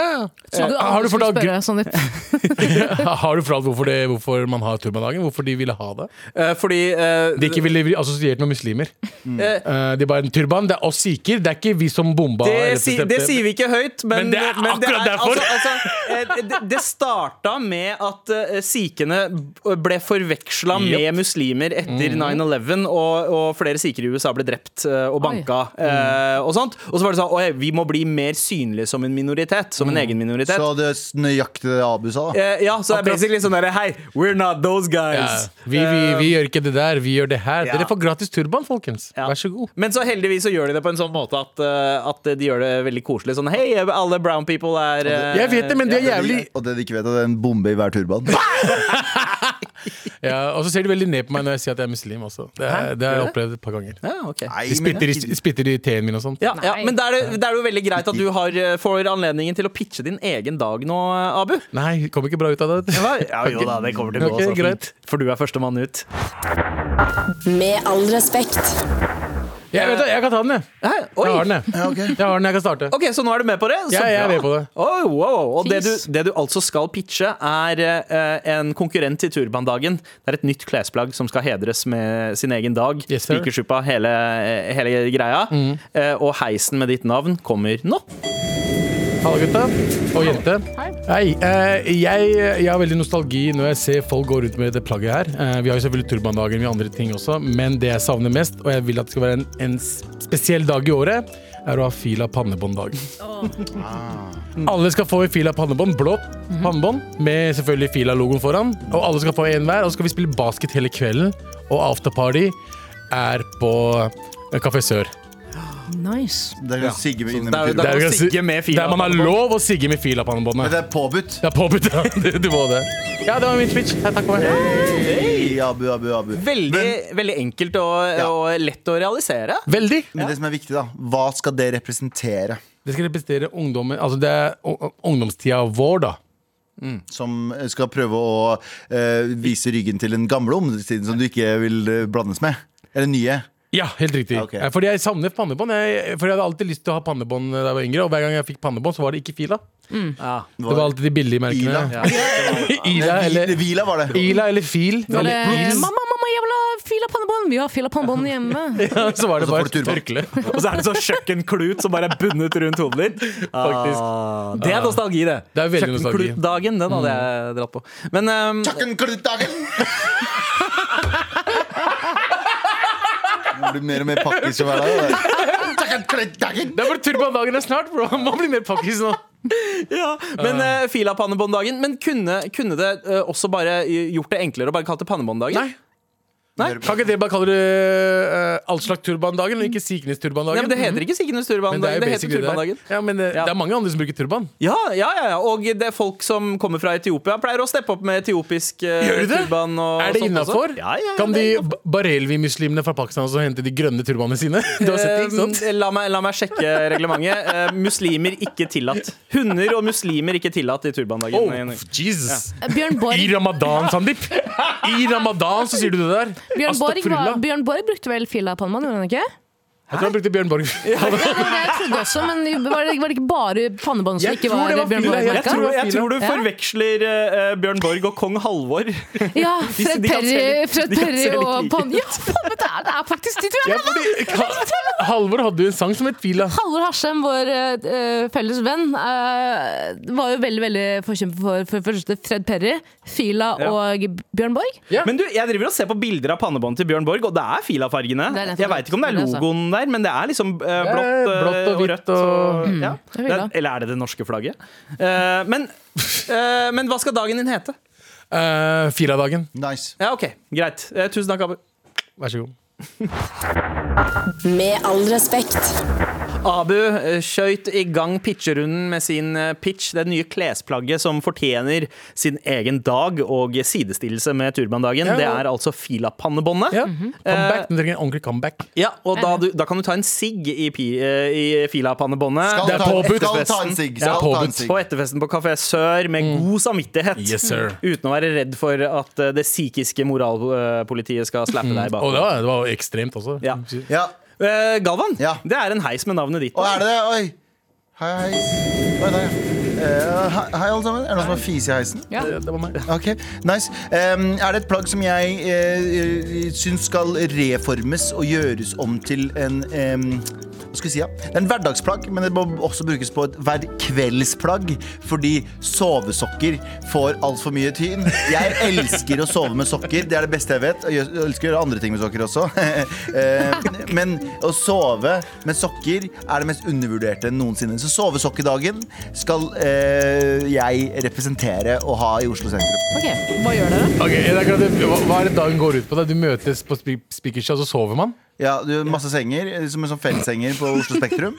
Speaker 5: Så
Speaker 3: Eh, har,
Speaker 5: du
Speaker 3: du
Speaker 5: aldri skulle
Speaker 3: fortalt,
Speaker 5: spørre, Sandeep.
Speaker 3: har du fortalt hvorfor, det, hvorfor man har turbandagen? Hvorfor de ville ha det?
Speaker 2: Eh, fordi eh,
Speaker 3: De ikke ville bli assosiert med muslimer.
Speaker 2: eh,
Speaker 3: Eh, de bare Turban, det er oss sikher, det er ikke vi som bomba.
Speaker 2: det,
Speaker 3: eller
Speaker 2: si,
Speaker 3: bestemte-
Speaker 2: det sier vi ikke høyt, men,
Speaker 3: Men det er akkurat derfor.
Speaker 2: Altså, altså, eh, det, det starta med at eh, sikhene b- ble forveksla med muslimer
Speaker 3: Mhm.
Speaker 2: etter 9-11, og, og flere sikher i USA ble drept eh, og banka eh, og sånt. Og så var det sånn Oi, vi må bli mer synlige som en minoritet. Som en
Speaker 3: Mm.
Speaker 2: egen minoritet.
Speaker 4: Så det er nøyaktig det Abu sa, da.
Speaker 2: Eh, ja, så det er basically sånn derre Hei, we're not those
Speaker 3: Ja.
Speaker 2: guys.
Speaker 3: Vi, vi, vi gjør ikke det der, vi gjør det her.
Speaker 2: Eh, ja.
Speaker 3: Dere får gratis turban, folkens.
Speaker 2: Ja.
Speaker 3: Vær så god.
Speaker 2: Men så heldigvis så gjør de det på en sånn måte at, eh, at de gjør det veldig koselig. Sånn hei, alle brown people er eh,
Speaker 3: Jeg vet det, men de er
Speaker 4: Det de-
Speaker 3: jævlig
Speaker 4: Og det de ikke vet, er at det er en bombe i hver turban.
Speaker 3: ja, Og så ser de veldig ned på meg når jeg sier at jeg er muslim også. Det, er, det har jeg opplevd et par ganger.
Speaker 2: ja, ok.
Speaker 4: Nei,
Speaker 3: De
Speaker 4: men-
Speaker 3: spytter i, spytter i teen min og sånt.
Speaker 2: Ja, ja,
Speaker 5: Nei.
Speaker 2: men da er, det, da er det jo veldig greit at du har, eh, får anledningen til å pitche din egen dag nå, eh, Abu.
Speaker 3: Nei, det kom ikke bra ut av det.
Speaker 2: Ja, jo da, det kommer til å gå
Speaker 3: Ok,
Speaker 2: så fint.
Speaker 3: greit.
Speaker 2: For du er førstemann ut.
Speaker 1: Med all respekt.
Speaker 3: Jeg, vet, det, jeg kan ta den, jeg.
Speaker 2: Hæ? Oi.
Speaker 3: Jeg har den, jeg.
Speaker 4: Ja, ok.
Speaker 3: Jeg, har den, jeg kan starte.
Speaker 2: Ok, Så nå er du med på det? Så
Speaker 3: Ja, jeg er
Speaker 2: bra.
Speaker 3: med på det.
Speaker 2: Oi, wow. Og det du,
Speaker 5: Fis.
Speaker 2: det du altså skal pitche, er eh, en konkurrent til Turbandagen. Det er et nytt klesplagg som skal hedres med sin egen dag.
Speaker 3: Yes, sir.
Speaker 2: Spikersuppa, hele, hele greia. Eh, og heisen med ditt navn kommer nå.
Speaker 3: Hallo, gutta. Og jente. Hei. eh, jeg, jeg har veldig nostalgi når jeg ser folk gå rundt med det plagget her. Eh, vi har jo selvfølgelig turbandagen vi har andre ting også, men det jeg savner mest, og jeg vil at det skal være en, en spesiell dag i året, er å ha fila pannebånddag. Alle skal få en fila pannebånd, blått pannebånd, med selvfølgelig fila-logoen foran. Og alle skal få en hver, og så skal vi spille basket hele kvelden. Og afterparty er på Kafé Sør.
Speaker 5: Nice.
Speaker 4: Det er jo sigge med
Speaker 2: Det
Speaker 4: inne
Speaker 2: er jo
Speaker 4: med
Speaker 2: det er
Speaker 4: pyro.
Speaker 2: jo
Speaker 3: jo
Speaker 2: å
Speaker 3: ganske-
Speaker 2: sigge med fila.
Speaker 3: Der man har lov å sigge med fila på
Speaker 4: Men
Speaker 3: håndbåndet.
Speaker 4: det er påbudt.
Speaker 3: Det er påbudt, ja. Du, du må det. Ja, det var min pitch. Ja, Takk for meg.
Speaker 4: Hey, abu, abu, abu.
Speaker 2: Veldig,
Speaker 4: Men,
Speaker 2: veldig enkelt og,
Speaker 4: Ja.
Speaker 2: og lett å realisere.
Speaker 3: Veldig.
Speaker 4: men det som er viktig, da. Hva skal det representere
Speaker 3: Det skal representere ungdommen Altså, det er u- ungdomstida vår, da.
Speaker 4: som skal prøve å eh, vise ryggen til den gamle ungdomstiden som du ikke vil eh, blandes med? Eller nye?
Speaker 3: Ja, helt riktig.
Speaker 4: Ok.
Speaker 3: Eh, Fordi jeg savner pannebånd. Jeg, for jeg hadde alltid lyst til å ha pannebånd da jeg var yngre, og hver gang jeg fikk pannebånd, så var det ikke fila.
Speaker 2: Ja.
Speaker 3: Det var alltid de billige
Speaker 4: Ila.
Speaker 3: merkene. Ila
Speaker 4: Nei, Vi-
Speaker 3: eller,
Speaker 4: Vila var det.
Speaker 3: Ila eller Fil.
Speaker 5: Var det,
Speaker 3: Eller Ils.
Speaker 5: Eh, mamma, mamma, jeg vil ha fila pannebånd! Vi har fila pannebånd hjemme.
Speaker 3: Så var det
Speaker 4: Og så
Speaker 3: bare
Speaker 4: får du turban.
Speaker 3: tørkle.
Speaker 2: Og så er det sånn kjøkkenklut som bare er bundet rundt hodet ditt.
Speaker 3: Faktisk.
Speaker 2: Ah, det er nostalgi, det.
Speaker 3: Det er veldig nostalgi.
Speaker 2: Kjøkkenklutdagen, den hadde jeg dratt på. Men ehm,
Speaker 4: Kjøkkenklutdagen! Det blir mer og mer pakkis hver dag. Kjøkkenklutdagen!
Speaker 3: Det er bare turbandagen er snart, bro! Man blir mer pakkis nå.
Speaker 2: ja, men eh, fila pannebånddagen. Men kunne, kunne det eh, også bare gjort det enklere å bare kalt det pannebånddagen?
Speaker 3: Nei. Kan ikke dere bare kalle det eh, all slags turbandagen, og ikke Signes-turbandagen?
Speaker 2: Nei, men Det heter ikke Signes
Speaker 3: Men det er
Speaker 2: turbandagen.
Speaker 3: jo
Speaker 2: Det, heter
Speaker 3: basically det der.
Speaker 2: turbandagen.
Speaker 3: Ja, men det,
Speaker 2: Ja.
Speaker 3: det er mange andre som bruker turban.
Speaker 2: Ja, ja, ja, ja. Og det er folk som kommer fra Etiopia, pleier å steppe opp med etiopisk eh,
Speaker 3: Gjør de det?
Speaker 2: turban. Og
Speaker 3: er
Speaker 2: sånt
Speaker 3: det
Speaker 2: også.
Speaker 3: innafor?
Speaker 2: Ja, ja,
Speaker 3: kan
Speaker 2: det
Speaker 3: de
Speaker 2: er
Speaker 3: ba- Barelvi-muslimene fra Pakistan også hente de grønne turbanene sine? Du har sett det, ikke sant?
Speaker 2: Eh, La meg, la meg sjekke reglementet. Eh, muslimer ikke tillatt. Hunder og muslimer ikke tillatt i turbandagen.
Speaker 3: Oh,
Speaker 2: Nei, nei.
Speaker 3: Jesus!
Speaker 5: Bjørn
Speaker 3: I
Speaker 5: Borg,
Speaker 3: ramadan, Sandeep! I ramadan så sier du det der!
Speaker 5: Bjørn Borg, var,
Speaker 3: Astagfirullah.
Speaker 5: Bjørn Borg brukte vel fila pannebånd, gjorde han ikke?
Speaker 3: Jeg tror han brukte Bjørn Borg.
Speaker 5: Det var det jeg trodde også, men var det, var det ikke bare pannebånd som
Speaker 3: Jeg
Speaker 5: ikke
Speaker 3: tror
Speaker 5: var,
Speaker 3: det var
Speaker 5: Bjørn
Speaker 3: fila, jeg
Speaker 2: Jeg
Speaker 5: Borg-merka?
Speaker 2: tror, jeg tror du
Speaker 5: Ja.
Speaker 2: forveksler eh, Bjørn Borg og kong Halvor.
Speaker 5: Ja,
Speaker 2: De-
Speaker 5: Fred
Speaker 2: de kan se
Speaker 5: Perry,
Speaker 2: litt-
Speaker 5: Fred
Speaker 2: de kan
Speaker 5: Perry
Speaker 2: se litt
Speaker 5: og
Speaker 2: like
Speaker 5: pann... Ja, faen, men det er, det er faktisk de to!
Speaker 3: Ja, fordi, Ka- Halvor hadde jo en sang som het Fila.
Speaker 5: Halvor Harsheim, vår eh, felles venn, eh, var jo veldig veldig forkjemper for, for, første Fred Perry, Fila
Speaker 2: Ja.
Speaker 5: og Bjørn Borg.
Speaker 3: Ja.
Speaker 2: Men du, jeg driver og ser på bilder av pannebåndet til Bjørn Borg, og det er filafargene.
Speaker 5: Det er nettopp
Speaker 2: Jeg veit ikke om det er
Speaker 5: det, altså.
Speaker 2: logoen der, men det er liksom eh, blått,
Speaker 3: er
Speaker 2: eh,
Speaker 3: blått og
Speaker 2: og
Speaker 3: hvitt
Speaker 2: rødt. Og, ja.
Speaker 5: er fila.
Speaker 2: Det er- Eller er det det norske flagget? Eh, men, eh, men hva skal dagen din hete?
Speaker 3: Eh, Filadagen.
Speaker 4: Nice.
Speaker 2: Ja, OK, greit. Eh, tusen takk, Abu.
Speaker 3: Vær så god.
Speaker 1: Med all respekt.
Speaker 2: Abu eh, skjøt i gang pitcherunden med sin eh, pitch, det nye klesplagget som fortjener sin egen dag og sidestillelse med turbandagen.
Speaker 3: Ja.
Speaker 2: Det er altså filapannebåndet.
Speaker 3: Ja.
Speaker 5: Mhm.
Speaker 3: Comeback. Den trenger en ordentlig comeback.
Speaker 2: Ja, og da, du, da kan du ta en sigg i, pi- eh, i filapannebåndet.
Speaker 4: Skal
Speaker 3: Det er
Speaker 4: ta-
Speaker 3: påbudt.
Speaker 4: Skal ta en sigg. Skal ta en
Speaker 3: påbudt.
Speaker 4: sigg.
Speaker 2: På etterfesten på Kafé Sør med
Speaker 3: Mm.
Speaker 2: god samvittighet.
Speaker 3: Yes, sir.
Speaker 2: Uten å være redd for at eh, det psykiske moralpolitiet skal slappe deg
Speaker 3: Og
Speaker 2: bak.
Speaker 3: det var, det var jo ekstremt også.
Speaker 2: Ja.
Speaker 4: Ja.
Speaker 2: Eh, Galvan,
Speaker 4: Ja.
Speaker 2: det er en heis med navnet ditt.
Speaker 4: Å, er det det? Oi. Hei, hei. Oi, der, ja. Eh, hei, hei, alle sammen. Er det noen som har fise i heisen?
Speaker 5: Ja.
Speaker 3: Det, det var meg.
Speaker 4: Ok, nice Em, Er det et plagg som jeg uh, syns skal reformes og gjøres om til en em, hva skal vi si, ja? Det er En hverdagsplagg, men det må også brukes på et hver kveldsplagg. Fordi sovesokker får altfor mye tyn. Jeg elsker å sove med sokker, det er det beste jeg vet. Og jeg elsker å gjøre andre ting med sokker også. Eh, men å sove med sokker er det mest undervurderte noensinne. Så sovesokkedagen skal eh, jeg representere og ha i Oslo sentrum.
Speaker 5: Ok, Hva gjør dere?
Speaker 3: Ok, det er akkurat det. hva, hva er det dagen går ut på? da? Du møtes på spi- Spikerstua, så sover man?
Speaker 4: Ja, du har masse senger, eh, som en sånn fellessenger på Oslo Spektrum.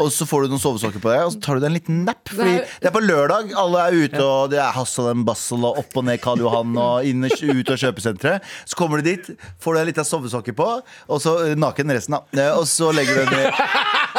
Speaker 4: Og så får du noen sovesokker på deg, og så tar du deg en liten napp. Fordi
Speaker 5: Det er-
Speaker 4: det er på lørdag, alle er ute, og det er hassel and bustle, og opp og ned Karl Johan, og inn og ut av kjøpesenteret. Så kommer du dit, får deg litt av sovesokker på, og så eh, naken resten, da. Eh, Og så legger du deg ned,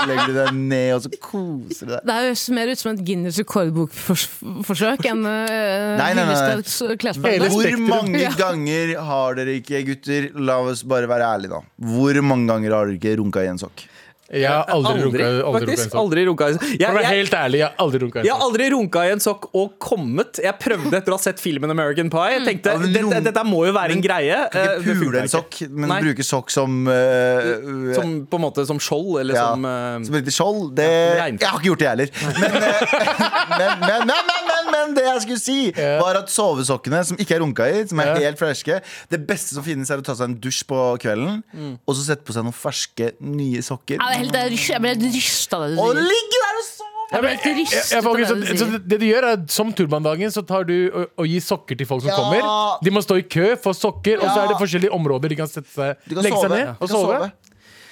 Speaker 4: legger du deg ned og så koser du deg.
Speaker 5: Det høres mer ut som et Guinness rekordbokforsøk enn uh,
Speaker 4: Nei, nei, nei, nei.
Speaker 5: klesplagg.
Speaker 3: Hele-
Speaker 4: Hvor
Speaker 3: Spektrum.
Speaker 4: mange
Speaker 5: Ja.
Speaker 4: ganger har dere ikke, gutter? La oss bare være ærlige, da. Hvor mange ganger har dere ikke runka i en sokk?
Speaker 3: Jeg har
Speaker 2: Aldri,
Speaker 3: aldri, runka, aldri runka en
Speaker 2: faktisk.
Speaker 3: sånn.
Speaker 2: Aldri runka i en sokk.
Speaker 3: For å
Speaker 2: Jeg,
Speaker 3: være
Speaker 2: jeg,
Speaker 3: helt ærlig, jeg har aldri runka en
Speaker 2: jeg har
Speaker 3: sånn.
Speaker 2: aldri runka i en sokk og kommet. Jeg prøvde etter å ha sett filmen American Pie. Jeg tenkte,
Speaker 4: Mm.
Speaker 2: Dette, dette må jo være en greie. Eh,
Speaker 4: Ikke
Speaker 2: det
Speaker 4: pule
Speaker 2: funker
Speaker 4: en
Speaker 2: ikke.
Speaker 4: sokk, men
Speaker 2: Nei.
Speaker 4: bruke sokk som eh,
Speaker 2: Som, på en måte, som skjold, eller
Speaker 4: Ja,
Speaker 2: som eh,
Speaker 4: som et lite skjold. Det,
Speaker 2: Ja,
Speaker 4: jeg
Speaker 2: regn.
Speaker 4: har ikke gjort det, jeg heller. Men, eh, men, men, men, men, men, men det jeg skulle si, var at sovesokkene, som ikke er runka i, som er
Speaker 3: Ja.
Speaker 4: helt ferske Det beste som finnes, er å ta seg en dusj på kvelden,
Speaker 2: Mm.
Speaker 4: og så sette på seg noen ferske, nye sokker.
Speaker 5: Ja, det er helt- det er- Jeg ble rysta av det du
Speaker 4: Og
Speaker 5: sier.
Speaker 4: ligge der og sove!
Speaker 5: Jeg ble helt
Speaker 3: Jeg-
Speaker 5: rystet
Speaker 3: jeg
Speaker 5: av
Speaker 3: får
Speaker 5: det
Speaker 3: ikke-
Speaker 5: du
Speaker 3: så,
Speaker 5: sier.
Speaker 3: så det du gjør er at Som turbandagen så tar du og, og gir sokker til folk som
Speaker 4: Ja.
Speaker 3: kommer. De må stå i kø, få sokker, og så
Speaker 4: Ja.
Speaker 3: er det forskjellige områder de kan sette seg,
Speaker 4: Du kan
Speaker 3: legge seg
Speaker 4: sove.
Speaker 3: ned
Speaker 4: Du
Speaker 3: og
Speaker 4: kan
Speaker 3: sove.
Speaker 4: sove.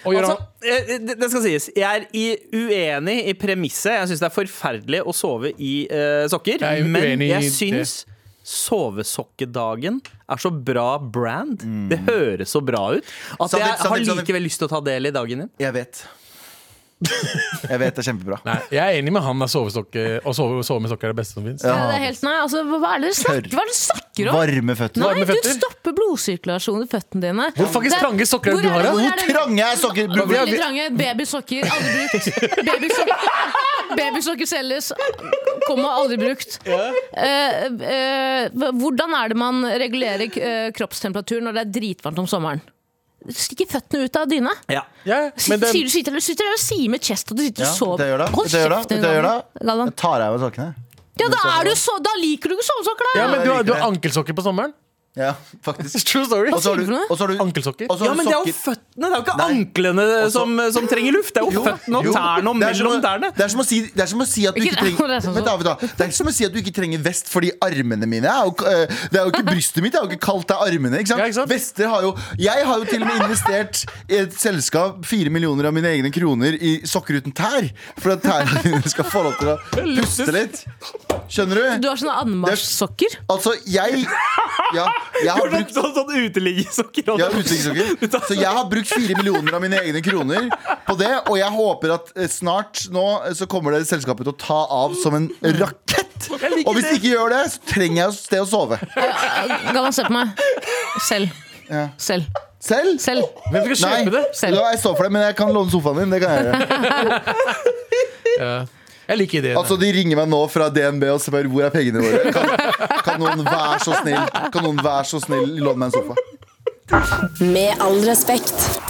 Speaker 3: Og Gøran?
Speaker 2: Altså, eh, det, det skal sies. Jeg er i, uenig i premisset. Jeg syns det er forferdelig å sove i eh, sokker.
Speaker 3: Jeg er uenig
Speaker 2: men
Speaker 3: i
Speaker 2: jeg
Speaker 3: det.
Speaker 2: syns Sovesokkedagen er så bra brand. Det høres så bra ut. At
Speaker 4: Mm. Sandeep,
Speaker 2: jeg har
Speaker 4: Sandeep, Sandeep.
Speaker 2: likevel lyst til å ta del i dagen din.
Speaker 4: Jeg vet. Jeg vet det er kjempebra.
Speaker 3: Nei, jeg er enig med han at sovestokke- å sove, sove med sokker er det beste som fins.
Speaker 5: Ja, det er helt, nei, altså, hva er det dere snakker, hva er det dere snakker om?
Speaker 4: Varme føtter.
Speaker 5: Nei,
Speaker 3: Varme
Speaker 5: du
Speaker 3: føtter?
Speaker 5: stopper blodsirkulasjonen i føttene dine.
Speaker 3: Hvor fucking
Speaker 5: Det er-
Speaker 3: trange sokker er det du har, da?
Speaker 5: hvor
Speaker 3: Hvor
Speaker 5: er det-
Speaker 4: Trange er sokker.
Speaker 5: Ja, Veldig trange. Babysokker. Aldri brukt. Babysokker, babysokker selges. Kommer aldri brukt. Eh, eh, hvordan er det man regulerer eh, kroppstemperaturen når det er dritvarmt om sommeren? Stikk føttene ut av dyna.
Speaker 2: Ja.
Speaker 3: Ja, men
Speaker 5: Sitter,
Speaker 3: det,
Speaker 5: sier du sitter, du sitter der og sier med chest at du sitter
Speaker 4: Ja,
Speaker 5: og sover.
Speaker 4: det gjør det.
Speaker 5: Hold
Speaker 4: Det gjør det.
Speaker 5: kjeften,
Speaker 4: Det gjør
Speaker 5: Galvan. Galvan.
Speaker 4: Jeg tar av meg sokkene.
Speaker 5: Ja, da, er du så, da liker du ikke sovesokker, da!
Speaker 3: ja, men du, har-
Speaker 4: Jeg liker
Speaker 3: du har
Speaker 4: det.
Speaker 3: ankelsokker på sommeren.
Speaker 4: Ja, faktisk.
Speaker 3: True story.
Speaker 4: Og så har
Speaker 5: sier
Speaker 4: du,
Speaker 5: du for noe?
Speaker 4: og så har du,
Speaker 3: Ankelsokker.
Speaker 4: og så
Speaker 2: ja,
Speaker 4: har du
Speaker 2: men det er jo
Speaker 4: sokker-
Speaker 2: føttene! Det er jo ikke
Speaker 4: Nei.
Speaker 2: anklene som, som trenger luft. Det er jo
Speaker 4: Jo,
Speaker 2: føttene og
Speaker 4: jo.
Speaker 2: tærne og
Speaker 4: Det er som
Speaker 2: mellom
Speaker 4: å-
Speaker 2: tærne.
Speaker 4: Det er som å si, det er som å si at du
Speaker 5: Ikke-
Speaker 4: ikke trenger
Speaker 5: det er sånn som-
Speaker 4: Vent da, vent da. Det er som å si at du ikke trenger vest fordi armene mine er jo, eh, Det er jo ikke brystet mitt, det er jo ikke kaldt, det er armene. Ikke sant?
Speaker 3: Ja, ikke sant?
Speaker 4: Vester har jo Jeg har jo til og med investert i et selskap fire millioner av mine egne kroner i sokker uten tær. For at tærne dine skal få lov til å puste litt. Skjønner
Speaker 5: Du
Speaker 4: du?
Speaker 5: har sånne anmarsjsokker.
Speaker 4: Altså, jeg Ja, jeg har
Speaker 2: Sånn,
Speaker 4: brukt
Speaker 2: sånn, sånn uteliggesokker.
Speaker 4: ja, utenrikssokker. Så jeg har brukt fire millioner av mine egne kroner på det, og jeg håper at eh, snart nå eh, så kommer det selskapet til å ta av som en rakett. Og hvis de ikke gjør det, så trenger jeg et sted å sove.
Speaker 5: Galvan, se på meg. Selv.
Speaker 4: Ja.
Speaker 5: Selv.
Speaker 4: Selv?
Speaker 5: Selv.
Speaker 3: Hvem skal
Speaker 4: Nei,
Speaker 3: kjøpe det?
Speaker 5: Selv.
Speaker 4: Ja, jeg står for det, men jeg kan låne sofaen din. Det kan jeg gjøre.
Speaker 3: Ja. Jeg liker ideen.
Speaker 4: Altså, De ringer meg nå fra DNB og spør hvor er pengene våre. Kan, kan noen være så snill Kan noen være så snill låne meg en sofa?
Speaker 1: Med all respekt.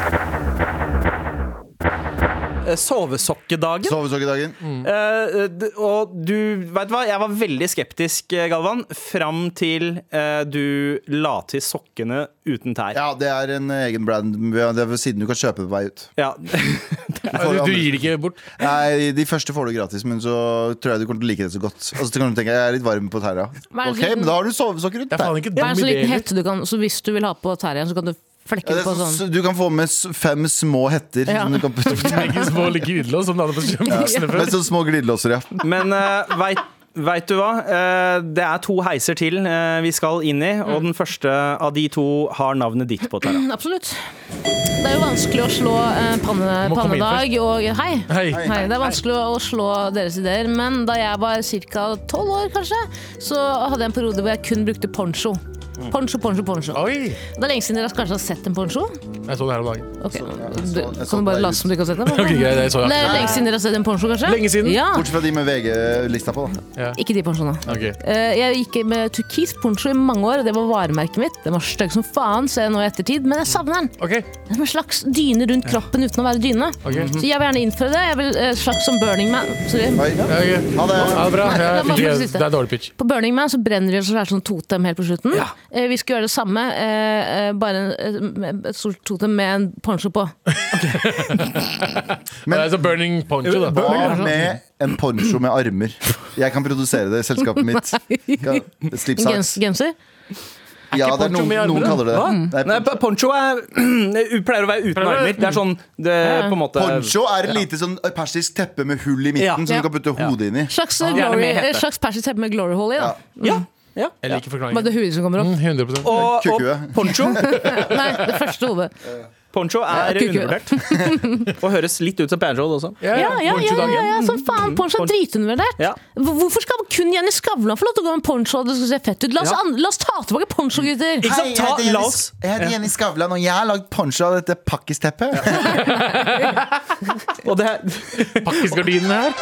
Speaker 2: Eh, Sovesokkedagen.
Speaker 4: Sovesokkedagen.
Speaker 2: Eh, d- og du vet hva, jeg var veldig skeptisk, eh, Galvan, fram til eh, du la til sokkene uten tær.
Speaker 4: Ja, det er en egen brand. Det er siden du kan kjøpe på vei ut.
Speaker 2: Ja.
Speaker 3: Du, du gir det ikke bort.
Speaker 4: Nei, De første får du gratis, men så tror jeg du kommer til å like det så godt. Og så kan du tenke jeg er litt varm på tæra.
Speaker 5: Hva er det
Speaker 4: Ok,
Speaker 5: som-
Speaker 4: men da har du sovesokker rundt
Speaker 3: Det er faen
Speaker 4: deg.
Speaker 3: ikke
Speaker 5: Det er
Speaker 3: dum
Speaker 5: en sånn
Speaker 3: idé.
Speaker 5: liten
Speaker 3: eller?
Speaker 5: hette du kan Så hvis du vil ha på terjen, så kan du flekke
Speaker 4: Ja, det
Speaker 5: den
Speaker 4: er
Speaker 5: på
Speaker 4: sånn-
Speaker 5: sånn.
Speaker 4: så du kan få med s- fem små hetter.
Speaker 5: Ja.
Speaker 4: Som du kan putte på deg.
Speaker 3: Ikke små like glidelås som du hadde på kjømbuksene
Speaker 4: Med
Speaker 3: før.
Speaker 4: sånne små glidelåser, ja.
Speaker 2: Men uh, veit Vet du hva? Eh, Det er to heiser til eh, vi skal inn i, og den første av de to har navnet ditt på Tara.
Speaker 5: Absolutt. Det er jo vanskelig å slå eh, panne,
Speaker 3: Du må komme inn
Speaker 5: pannedag og hei.
Speaker 3: Hei.
Speaker 5: Hei, det er vanskelig å slå deres ideer, men da jeg var ca. tolv år, kanskje, så hadde jeg en periode hvor jeg kun brukte poncho.
Speaker 4: Mm.
Speaker 5: Poncho, poncho, poncho.
Speaker 3: Oi!
Speaker 5: Det er lenge siden dere kanskje har sett en poncho.
Speaker 3: Jeg så den her om dagen.
Speaker 5: Ok,
Speaker 4: så-
Speaker 5: du,
Speaker 4: jeg så
Speaker 5: Kan du
Speaker 4: deg
Speaker 5: bare
Speaker 4: ut.
Speaker 5: late som du ikke har sett den?
Speaker 3: Ok, greit, jeg så
Speaker 5: Det
Speaker 3: den.
Speaker 5: er lenge siden dere har sett en poncho, kanskje?
Speaker 3: Lenge siden.
Speaker 5: Ja,
Speaker 4: Bortsett fra de med VG-lista på, da.
Speaker 5: Ikke de pensjonene.
Speaker 3: Ok.
Speaker 5: Eh, Jeg gikk med turkis poncho i mange år, og det var varemerket mitt. Den var stygg som faen, ser jeg nå i ettertid, men jeg savner den.
Speaker 3: Ok,
Speaker 5: Det er som en slags dyne rundt kroppen uten å være dyne.
Speaker 3: ok.
Speaker 4: Mhm.
Speaker 5: Så jeg vil gjerne innføre det. Jeg vil eh, slags som Burning Man. Sorry.
Speaker 4: Oi.
Speaker 3: Ja, ok.
Speaker 4: Ha det.
Speaker 3: Ja, det er bra.
Speaker 5: Nei,
Speaker 3: Ja,
Speaker 5: da må
Speaker 3: fikk
Speaker 5: vi
Speaker 3: jeg-
Speaker 5: siste.
Speaker 3: det er dårlig pitch.
Speaker 5: På Burning Man så brenner de og så er det sånn totem helt på slutten. Eh, Vi skulle gjøre det samme, eh, eh, bare en, eh, med et stort totem med en poncho på.
Speaker 3: Men, så burning poncho, da.
Speaker 4: Hva med en poncho med armer? Jeg kan produsere det i selskapet mitt. Kan- Slipp
Speaker 5: En
Speaker 4: saks.
Speaker 5: gens, genser.
Speaker 4: Ja, det er
Speaker 3: poncho
Speaker 4: noen,
Speaker 3: med armer,
Speaker 4: noen
Speaker 3: da?
Speaker 4: kaller det det.
Speaker 2: Nei,
Speaker 4: Nei,
Speaker 2: p- poncho er, pleier å være uten
Speaker 3: Pleier å være-
Speaker 2: armer. Det er sånn det, på en måte
Speaker 4: Poncho er et lite sånn persisk teppe med hull i
Speaker 2: Ja.
Speaker 4: midten som
Speaker 5: Ja.
Speaker 4: du kan putte hodet inn i.
Speaker 5: Slags, eh,
Speaker 2: Gjerne
Speaker 5: glory,
Speaker 2: med hette.
Speaker 5: eh, slags persisk teppe med glory hole i, da.
Speaker 2: Ja. ja.
Speaker 3: Jeg liker
Speaker 5: Bare
Speaker 3: forklaringen.
Speaker 5: det huet som kommer opp.
Speaker 3: Mm, 100
Speaker 2: Og, og
Speaker 4: Kukue.
Speaker 2: poncho,
Speaker 5: Nei, det første hodet.
Speaker 2: poncho er
Speaker 5: Ja, kukue.
Speaker 2: undervurdert. Og høres litt ut som Panjol også.
Speaker 3: Ja,
Speaker 5: Ja, ja, ja, ja,
Speaker 3: poncho-dagen.
Speaker 5: ja som faen. Poncho er
Speaker 2: Poncho.
Speaker 5: dritundervurdert.
Speaker 2: Mm. Ja.
Speaker 5: Hvor- Hvorfor skal kun Jenny Skavlan få lov til å gå med poncho og det skal se fett ut? La oss,
Speaker 2: Ja. Mm.
Speaker 5: an- la oss ta tilbake poncho, gutter!
Speaker 2: Ikke sant? Ta, la oss
Speaker 4: jeg heter Jenny Skavlan, og jeg har lagd poncho av dette pakkisteppet.
Speaker 2: Og det, er-
Speaker 3: Pakkisgardinene her.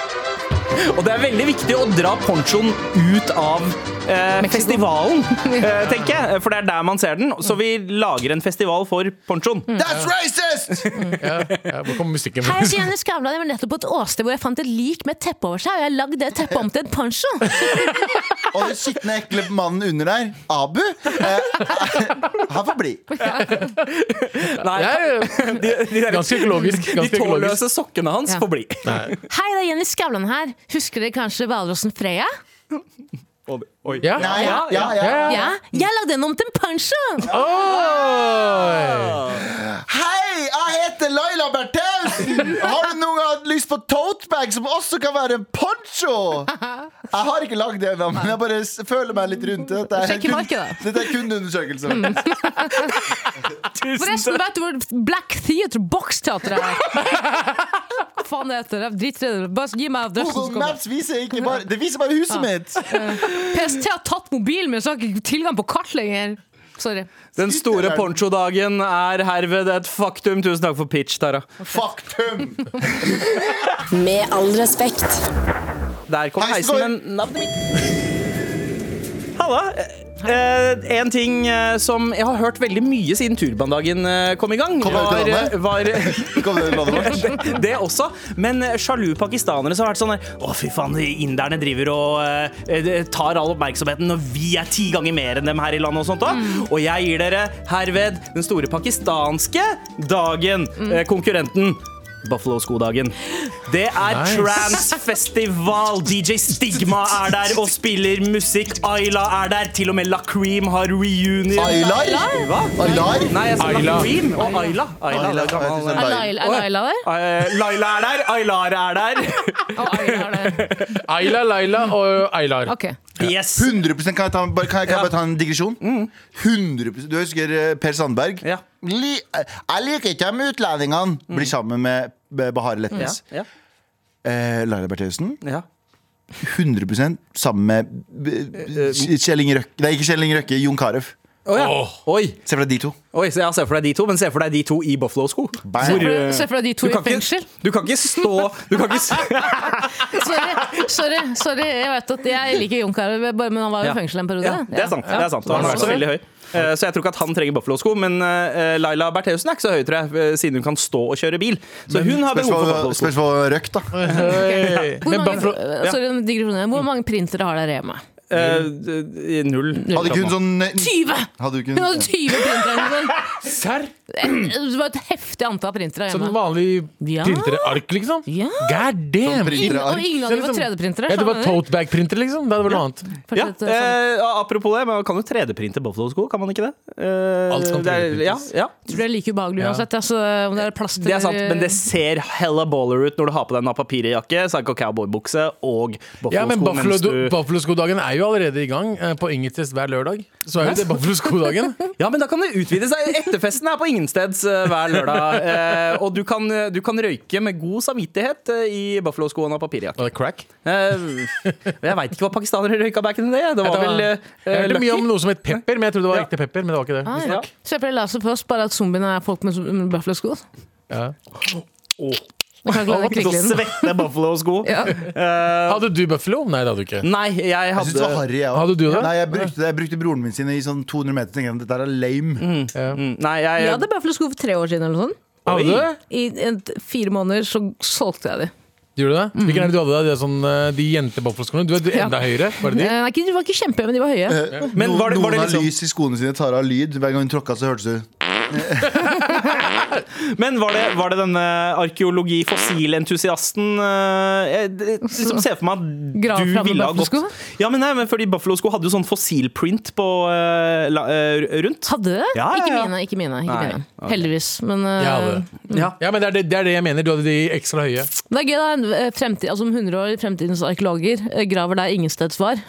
Speaker 2: og det er veldig viktig å dra ponchoen ut av eh, festivalen, eh, tenker jeg. For det er der man ser den. Så vi lager en festival for ponchoen.
Speaker 5: Mm.
Speaker 4: That's racist!
Speaker 3: Ja, ja, hvor kommer musikken
Speaker 5: Her
Speaker 3: fra?
Speaker 5: er Jenny Skavlan. Jeg var nettopp på et åsted hvor jeg fant et lik med et teppe over seg, og jeg har lagd det teppet om til en poncho.
Speaker 4: Og den skitne, ekle mannen under der, Abu, eh, han får bli.
Speaker 2: Nei,
Speaker 3: Ja, ja, ja.
Speaker 2: de, de, der,
Speaker 3: Ganske økologisk.
Speaker 2: de
Speaker 3: Ganske økologisk.
Speaker 2: tåløse sokkene hans
Speaker 5: Ja.
Speaker 2: får bli.
Speaker 5: Hei, det er Jenny Skavlan her. Husker dere kanskje hvalrossen Freya?
Speaker 2: Og- Oi.
Speaker 3: Ja.
Speaker 4: Nei, ja, ja, ja.
Speaker 3: Ja.
Speaker 5: Ja, jeg lagde den om til en poncho!
Speaker 3: Oi!
Speaker 4: Hei, jeg heter heter Laila Bertheussen! Har du noen gang hatt lyst på totebag som også kan være en poncho? Jeg har ikke lagd det ennå, men jeg bare s- føler meg litt rundt det. Dette er,
Speaker 5: Sjekk i
Speaker 4: kun-
Speaker 5: markedet.
Speaker 4: dette er kundeundersøkelse.
Speaker 5: Forresten, vet du hvor Black Theatre Box-teatret er? Hva faen det heter det? Drit i det. Bare gi meg adressen. så
Speaker 4: Google
Speaker 5: kommer jeg.
Speaker 4: Maps viser ikke bare Det viser bare huset mitt!
Speaker 5: PST har tatt mobilen min, så jeg har ikke tilgang på kart lenger. Sorry.
Speaker 2: Den store ponchodagen er herved et faktum. Tusen takk for pitch, Tara.
Speaker 4: Faktum!
Speaker 1: Med all respekt.
Speaker 2: Der kom
Speaker 4: Heisen
Speaker 2: heisen,
Speaker 4: går.
Speaker 2: men navnet mitt Halla. Eh, en ting eh, som jeg har hørt veldig mye siden turbandagen eh, kom i gang,
Speaker 4: Kom
Speaker 2: var,
Speaker 4: det ut i
Speaker 2: var
Speaker 4: Kom det landet vårt?
Speaker 2: det, det også. Men eh, sjalu pakistanere som har vært sånn der Å, fy faen, de inderne driver og eh, eh, tar all oppmerksomheten, og vi er ti ganger mer enn dem her i landet og sånt da. Og jeg gir dere herved den store pakistanske dagen, eh, konkurrenten. Buffalo-skodagen. Det er
Speaker 3: Nice.
Speaker 2: transfestival. DJ Stigma er der og spiller musikk. Ayla er der. Til og med La Cream har reunion.
Speaker 4: Aylar?
Speaker 2: Hva?
Speaker 4: Aylar?
Speaker 2: Nei, jeg sa La
Speaker 3: Ayla.
Speaker 2: Cream og Ayla. Ayla,
Speaker 4: Ayla,
Speaker 2: det er gammel-
Speaker 4: jeg synes
Speaker 5: Er Laila, er Laila der?
Speaker 2: Eh, Laila er der, Aylar er der.
Speaker 5: Å, Laila er der.
Speaker 3: Ayla, Laila og Aylar.
Speaker 5: Ok.
Speaker 2: Yes.
Speaker 4: 100 Kan jeg, ta, bare, kan jeg, kan jeg bare ta en digresjon? 100 Du husker eh, Per Sandberg?
Speaker 2: Ja.
Speaker 4: Li, jeg liker ikke de utlendingene! Blir sammen med med Bahare Letnes.
Speaker 2: Ja,
Speaker 4: Eh, Laila Bertheussen.
Speaker 2: ja.
Speaker 4: 100 sammen med eh, Kjell Inge Røkke Nei, ikke Kjell Inge Røkke, Jon Carew.
Speaker 2: Å, ja.
Speaker 3: Åh.
Speaker 2: Oi,
Speaker 4: Se for deg de to.
Speaker 2: oi, så jeg ser for deg de to, men se for deg de to i Buffalo-sko.
Speaker 4: Bam.
Speaker 2: Hvor, eh,
Speaker 5: Se for deg de
Speaker 2: du
Speaker 5: to i
Speaker 2: kan ikke-
Speaker 5: fengsel.
Speaker 2: Du kan ikke stå Du kan ikke s-
Speaker 5: Sorry, sorry, sorry. Jeg vet at jeg liker Jon Carew, bare- men han var jo
Speaker 2: Ja.
Speaker 5: i fengsel en periode.
Speaker 2: ja, det er sant. Det er sant.
Speaker 5: Ja.
Speaker 2: Han er også veldig høy. Eh, Så jeg tror ikke at han trenger Buffalo-sko, men eh, Laila Bertheussen er ikke så høy, tror jeg, eh, siden hun kan stå og kjøre bil. Så hun har
Speaker 4: Spørs
Speaker 2: behov for
Speaker 4: hva-
Speaker 2: Buffalo-sko.
Speaker 4: spørs hva Røkke, da.
Speaker 3: Hey.
Speaker 5: Hvor
Speaker 3: Men
Speaker 5: mange,
Speaker 3: Buffalo
Speaker 5: eh, sorry, en digresjon her. Hvor mange printere har dere hjemme?
Speaker 2: Eh, eh, Null.
Speaker 4: Hadde ikke hun sånn
Speaker 5: 20!
Speaker 4: Hadde hun
Speaker 5: Hun
Speaker 4: ikke
Speaker 5: hadde 20 printere!
Speaker 3: Serr?
Speaker 5: Det var et heftig antall printere
Speaker 3: Sånn
Speaker 5: hjemme.
Speaker 3: vanlig
Speaker 5: Ja.
Speaker 3: printerark, liksom?
Speaker 5: Ja.
Speaker 3: God damn!
Speaker 4: printer.
Speaker 5: Ingen, og
Speaker 4: ark.
Speaker 5: ingen av dem var
Speaker 3: Ja,
Speaker 5: 3D-printere.
Speaker 3: det liksom- var
Speaker 5: skjønner du?
Speaker 3: tote-bag-printer, liksom. Det hadde vært noe annet.
Speaker 2: Ja,
Speaker 5: Fortsett, sånn.
Speaker 2: eh, apropos det, men kan du 3D-printe Buffalo-sko? Kan man ikke det? Eh,
Speaker 3: Alt kan
Speaker 2: det er, ja,
Speaker 3: 3D-printes.
Speaker 2: ja.
Speaker 5: Jeg tror det er like ubehagelig
Speaker 3: Ja.
Speaker 5: uansett. Altså, om det er plast
Speaker 2: Det er sant,
Speaker 5: eller-
Speaker 2: men det ser hella baller ut når du har på deg en papirjakke, psycho cowboybukse og buffalo-sko.
Speaker 3: Ja, men Buffalo-
Speaker 2: mens du-
Speaker 3: Buffalo-skodagen er jo allerede i gang. eh, På Ingetest hver lørdag. Så er jo det Buffalo-skodagen.
Speaker 2: ja, men da kan det utvide seg. Etterfesten er på ingensteds eh, hver lørdag. Eh, og du kan, du kan røyke med god samvittighet eh, i Buffalo-skoene og papirjakke.
Speaker 3: Var det crack?
Speaker 2: Eh, jeg veit ikke hva pakistanere røyka back in the day. Det var
Speaker 3: Jeg
Speaker 2: vel eh,
Speaker 3: Jeg hørte
Speaker 2: Lucky.
Speaker 3: mye om noe som het pepper, men jeg trodde det var
Speaker 2: Ja.
Speaker 3: ekte pepper. Men det var ikke det.
Speaker 5: Ah, ja.
Speaker 2: Ja.
Speaker 5: Så jeg pleier å lese først bare at zombiene er folk med med bøflesko.
Speaker 3: Ja.
Speaker 5: Jeg kan ikke la det
Speaker 2: Så
Speaker 5: krigle inn.
Speaker 2: svette Buffalo-sko.
Speaker 5: Ja.
Speaker 2: Eh,
Speaker 3: Hadde du Buffalo? Nei, det hadde du ikke.
Speaker 2: nei, jeg
Speaker 4: Jeg synes det var
Speaker 2: hadde
Speaker 4: harry, jeg også.
Speaker 3: Hadde du det?
Speaker 4: Nei, jeg brukte, det. jeg brukte broren min sine i sånn 200 meter. Tenkte jeg, dette her er lame.
Speaker 2: Mm, Nei, jeg
Speaker 5: Jeg hadde bøflesko for tre år siden eller noe sånt.
Speaker 2: Oi.
Speaker 3: Hadde du?
Speaker 5: I en, fire måneder så solgte jeg de.
Speaker 3: Gjorde du det?
Speaker 2: Mm.
Speaker 3: Hvilken er det du hadde? Det er sånn, eh, de jente-Buffalo-skoene? Du er du er enda høyere, var det de?
Speaker 5: Eh, nei, ikke- De var ikke kjempehøye, men de var høye.
Speaker 2: Men
Speaker 4: noen
Speaker 2: var det- var det
Speaker 4: noen
Speaker 2: liksom-
Speaker 4: har lys i skoene sine, Tara har lyd. Hver gang hun tråkka, så hørtes det ut.
Speaker 2: Men var det, var det denne arkeologi-fossilentusiasten eh, Jeg d- liksom ser for meg at
Speaker 5: Grav
Speaker 2: du
Speaker 5: fram med
Speaker 2: ville ha gått
Speaker 5: Buffalo-sko?
Speaker 2: Ja, men nei, men fordi Buffalo-sko hadde jo sånn fossilprint på eh, la, eh, rundt.
Speaker 5: Hadde det?
Speaker 2: Ja, ja,
Speaker 5: Ikke
Speaker 2: ja.
Speaker 5: mine, ikke mine. Ikke
Speaker 2: Nei,
Speaker 5: mine. Heldigvis. Men eh,
Speaker 3: Jeg hadde det.
Speaker 2: Ja.
Speaker 3: Ja, men det er det, det er det jeg mener. Du hadde de ekstra høye.
Speaker 5: men det er gøy, da. en, eh, Fremtid, altså om 100 år, fremtidens arkeologer eh, graver der ingensteds var.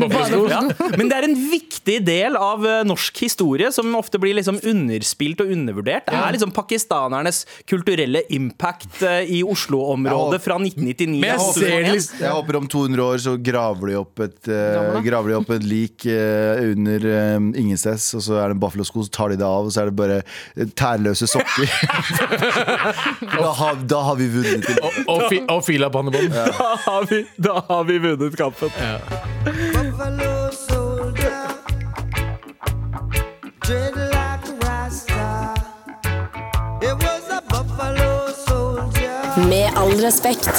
Speaker 3: Buffalo-sko.
Speaker 2: Ja. Men det er en viktig del av eh, norsk historie som ofte blir liksom underspilt og undervurdert. Det er liksom pakistanernes kulturelle impact eh, i
Speaker 4: Ja.
Speaker 2: Oslo-området fra 1999.
Speaker 3: Men jeg
Speaker 2: til
Speaker 3: ser det
Speaker 2: 2001.
Speaker 3: liksom-
Speaker 4: Jeg håper om 200 år så graver de opp et, eh,
Speaker 5: Graver da.
Speaker 4: graver de opp et lik eh, under eh, ingensteds, og så er det en Buffalo-sko, så tar de det av, og så er det bare eh, tærløse sokker. da, har, da har vi vunnet.
Speaker 3: Og, og, fi, og fila pannebånd.
Speaker 2: Da har vi, da har vi vunnet kampen.
Speaker 6: Buffalo soldier, dread like a rasta. It was a buffalo soldier.
Speaker 1: Med all respekt.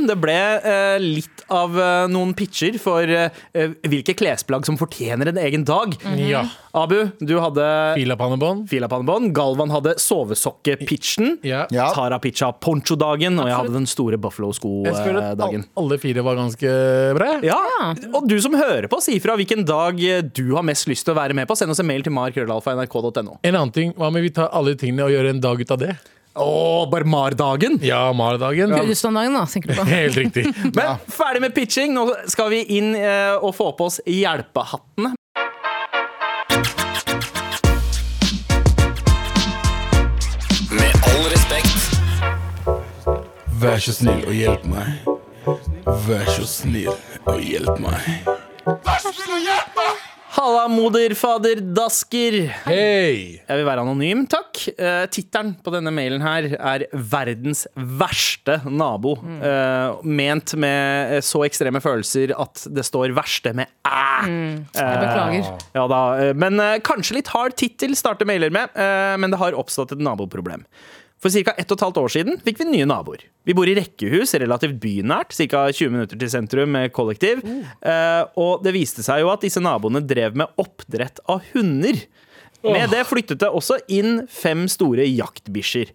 Speaker 2: Det ble eh, litt av eh, noen pitcher for eh, eh, hvilke klesplagg som fortjener en egen dag.
Speaker 3: Ja.
Speaker 2: Abu, du hadde
Speaker 3: Filapannebånd.
Speaker 2: filapannebånd. Galvan hadde sovesokke-pitchen.
Speaker 3: Ja.
Speaker 4: Ja.
Speaker 2: Tara pitcha poncho-dagen, og jeg hadde den store
Speaker 3: Jeg føler
Speaker 5: eh,
Speaker 3: at
Speaker 2: Buffalo-sko-dagen.
Speaker 3: al- alle fire var ganske bra.
Speaker 2: Ja. Og du som hører på, si ifra hvilken dag eh, du har mest lyst til å være med på. Send oss en mail til markrøllalfa.nrk.no.
Speaker 3: En annen ting, Hva med vi tar alle tingene og gjør en dag ut av det?
Speaker 2: Å, barmardagen!
Speaker 3: Ja, Maradagen.
Speaker 5: Kurdistan-dagen, da, tenker du på.
Speaker 3: Helt riktig.
Speaker 2: Men ferdig med pitching. Nå skal vi inn eh, og få på oss hjelpehattene.
Speaker 7: Med all respekt.
Speaker 3: Vær så snill og hjelp meg. Vær så snill og hjelp meg.
Speaker 2: Halla, moderfader Dasker.
Speaker 3: Hei!
Speaker 2: Jeg vil være anonym, takk. Eh, Tittelen på denne mailen her er 'Verdens verste nabo'.
Speaker 3: Mm.
Speaker 2: Eh, ment med eh, så ekstreme følelser at det står 'verste' med æ.
Speaker 3: Mm.
Speaker 5: Jeg beklager.
Speaker 2: Ja da, eh, men eh, kanskje litt hard tittel starter mailer med, eh, men det har oppstått et naboproblem. For ca. ett og et halvt år siden fikk vi nye naboer. Vi bor i rekkehus, relativt bynært, ca. 20 minutter til sentrum med kollektiv. Eh, Og det viste seg jo at disse naboene drev med oppdrett av hunder. Med det flyttet det også inn fem store jaktbikkjer.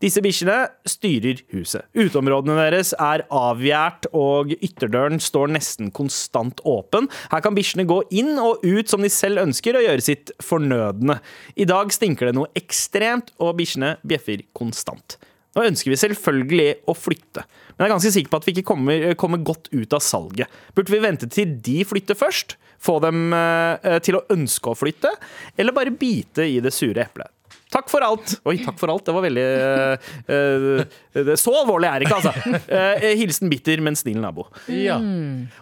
Speaker 2: Disse bikkjene styrer huset. Uteområdene deres er avgjært, og ytterdøren står nesten konstant åpen. Her kan bikkjene gå inn og ut som de selv ønsker, og gjøre sitt fornødne. I dag stinker det noe ekstremt, og bikkjene bjeffer konstant. Nå ønsker vi selvfølgelig å flytte, men jeg er ganske sikker på at vi ikke kommer, eh, kommer godt ut av salget. Burde vi vente til de flytter først? Få dem eh, til å ønske å flytte? Eller bare bite i det sure eplet? Takk for alt. Oi, takk for alt. Det var veldig eh, eh, det, Så alvorlig er det ikke, altså. Eh, hilsen bitter, men snill nabo.
Speaker 3: Ja.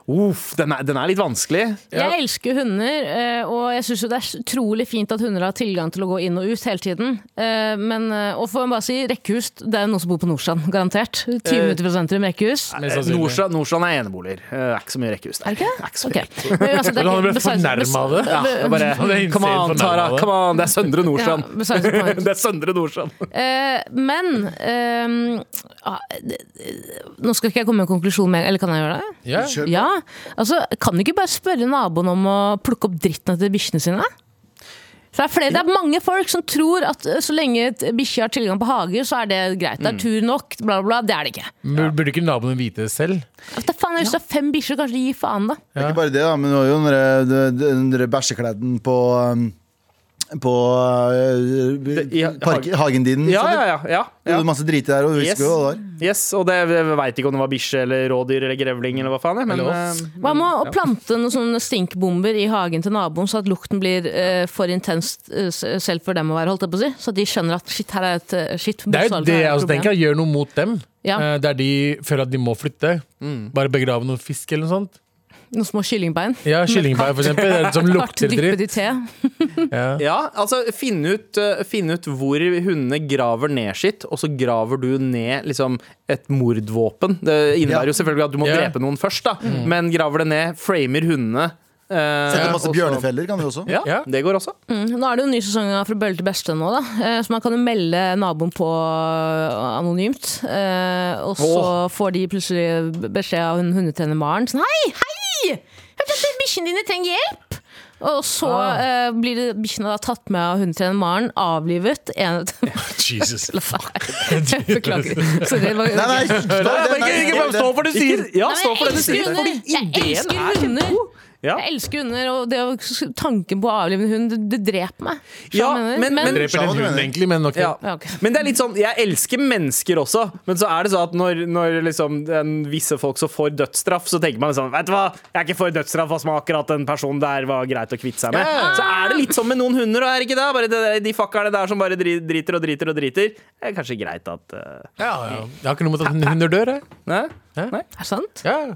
Speaker 2: Uff, den er, den er litt vanskelig.
Speaker 5: Jeg elsker hunder, eh, og jeg syns det er utrolig fint at hunder har tilgang til å gå inn og ut hele tiden. Eh, Men, eh, og får man bare si, rekkehus, det er noen som bor på Nordstrand, garantert. 10 minutter fra sentrum, rekkehus.
Speaker 2: Eh,
Speaker 3: sannsynlig.
Speaker 2: Nordstrand, Nordstrand er eneboliger. Eh, Det er ikke så mye rekkehus der.
Speaker 5: Er det ikke?
Speaker 2: er ikke så mye
Speaker 5: Ok. Men altså, det er
Speaker 3: Men han
Speaker 5: ikke-
Speaker 3: ble
Speaker 5: besides-
Speaker 3: fornærmet av det.
Speaker 2: Ja, det er bare,
Speaker 3: Det er insane
Speaker 2: come on,
Speaker 3: fornærmet,
Speaker 2: Tara.
Speaker 3: det.
Speaker 2: Come on, det er Søndre
Speaker 5: Ja,
Speaker 2: Nordstrand.
Speaker 5: besides the point.
Speaker 2: Det er Søndre Nordstrand.
Speaker 5: Eh, men ehm, ah, det- det- Nå skal ikke jeg komme med en konklusjon, med, eller kan jeg gjøre
Speaker 3: Ja.
Speaker 5: det? Ja, altså Kan du ikke bare spørre naboen om å plukke opp dritten etter bikkjene sine? For det, er flere, det er mange folk som tror at eh, så lenge et bikkje har tilgang på hager, så er det greit.
Speaker 3: Mm.
Speaker 5: Det er tur nok, bla, bla, bla. Det er det ikke.
Speaker 3: Men Burde ikke naboene vite det selv?
Speaker 5: Da faen, Hvis du har fem bikkjer, kanskje de gir faen, da.
Speaker 4: Det er ikke bare det, da, men det var jo den der- den- den der bæsjekledden på um, på uh,
Speaker 2: i ha-
Speaker 4: park, hagen din.
Speaker 2: Ja,
Speaker 4: Mm. så
Speaker 2: ja,
Speaker 4: det-
Speaker 2: ja. ja,
Speaker 4: Det var
Speaker 2: ja.
Speaker 4: masse drit der, og du
Speaker 2: Yes.
Speaker 4: husker jo hva det var.
Speaker 2: Yes, og det veit ikke om det var bikkje eller rådyr eller grevling eller hva faen. jeg, Men,
Speaker 3: Eller oss.
Speaker 2: eh,
Speaker 5: Hva
Speaker 3: Mm,
Speaker 5: med å plante noen sånne stinkbomber i hagen til naboen, så at lukten blir eh, for intens eh, s- selv for dem å være, holdt jeg på å si? Så at de skjønner at shit, her er et eh, shit.
Speaker 3: Det er jo det
Speaker 5: bokstavelig talt
Speaker 3: jeg
Speaker 5: et
Speaker 3: også
Speaker 5: problem.
Speaker 3: tenker. Gjør noe mot dem.
Speaker 5: Ja. Mm.
Speaker 3: Eh, Der de føler at de må flytte. Bare begrave noe fisk eller noe sånt.
Speaker 5: Noen små kyllingbein.
Speaker 3: Ja, Kyllingbein, for eksempel. Det er det Som
Speaker 5: Kart
Speaker 3: lukter
Speaker 5: dyppe
Speaker 3: dritt.
Speaker 5: det i te.
Speaker 3: Ja.
Speaker 2: Ja, altså finn ut, eh, finn ut hvor hundene graver ned sitt, og så graver du ned liksom, et mordvåpen. Det innebærer jo selvfølgelig at du må
Speaker 3: Ja. Mm.
Speaker 2: drepe noen først, da, men graver det ned, framer hundene. eh,
Speaker 4: Sette masse
Speaker 2: og så-
Speaker 4: bjørnefeller kan du også.
Speaker 2: Ja,
Speaker 3: Ja.
Speaker 2: det går også.
Speaker 5: Mm, Nå er det jo en ny sesong av Fra bølle til beste nå, da. Eh, Så man kan jo melde naboen på eh, anonymt. Eh, Og så får de plutselig beskjed av hun hundetrener Maren sånn Hei, hei! Hørte at bikkjene dine trenger hjelp! Og så
Speaker 2: Ah.
Speaker 5: eh, blir det- bikkjene da tatt med av hundetrener Maren, avlivet. En,
Speaker 3: Jesus.
Speaker 5: jeg beklager. Sorry. det var-
Speaker 4: Nei, nei, stå, det, nei, det-
Speaker 2: for det du sier! Ja, stå for det
Speaker 5: Nei,
Speaker 2: du sier.
Speaker 5: men
Speaker 2: Fordi
Speaker 5: Jeg elsker
Speaker 2: ideen er
Speaker 5: hunder! Jeg elsker hunder.
Speaker 2: Ja.
Speaker 5: Jeg elsker hunder, og det, å- tanken på å avlive en hund, det, det dreper meg. Skjønner du
Speaker 2: Ja,
Speaker 5: hva jeg
Speaker 2: men-
Speaker 5: mener?
Speaker 2: men-
Speaker 3: Dreper en hund, egentlig, men ok.
Speaker 2: Ja.
Speaker 5: Ja, ok.
Speaker 2: Men det er litt sånn, jeg elsker mennesker også, men så er det sånn at når, når liksom en, visse folk så får dødsstraff, så tenker man sånn Vet du hva, jeg er ikke for dødsstraff, altså, men akkurat den personen der var greit å kvitte seg med. Så er det litt sånn med noen hunder, og er det ikke det? Bare det, der- de fuckerne der som bare dri- driter og driter og driter. Det er kanskje greit at eh,
Speaker 3: Ja, ja. Jeg har ikke noe mot at hunder dør, jeg.
Speaker 2: Nei?
Speaker 5: Er det sant?
Speaker 3: Ja.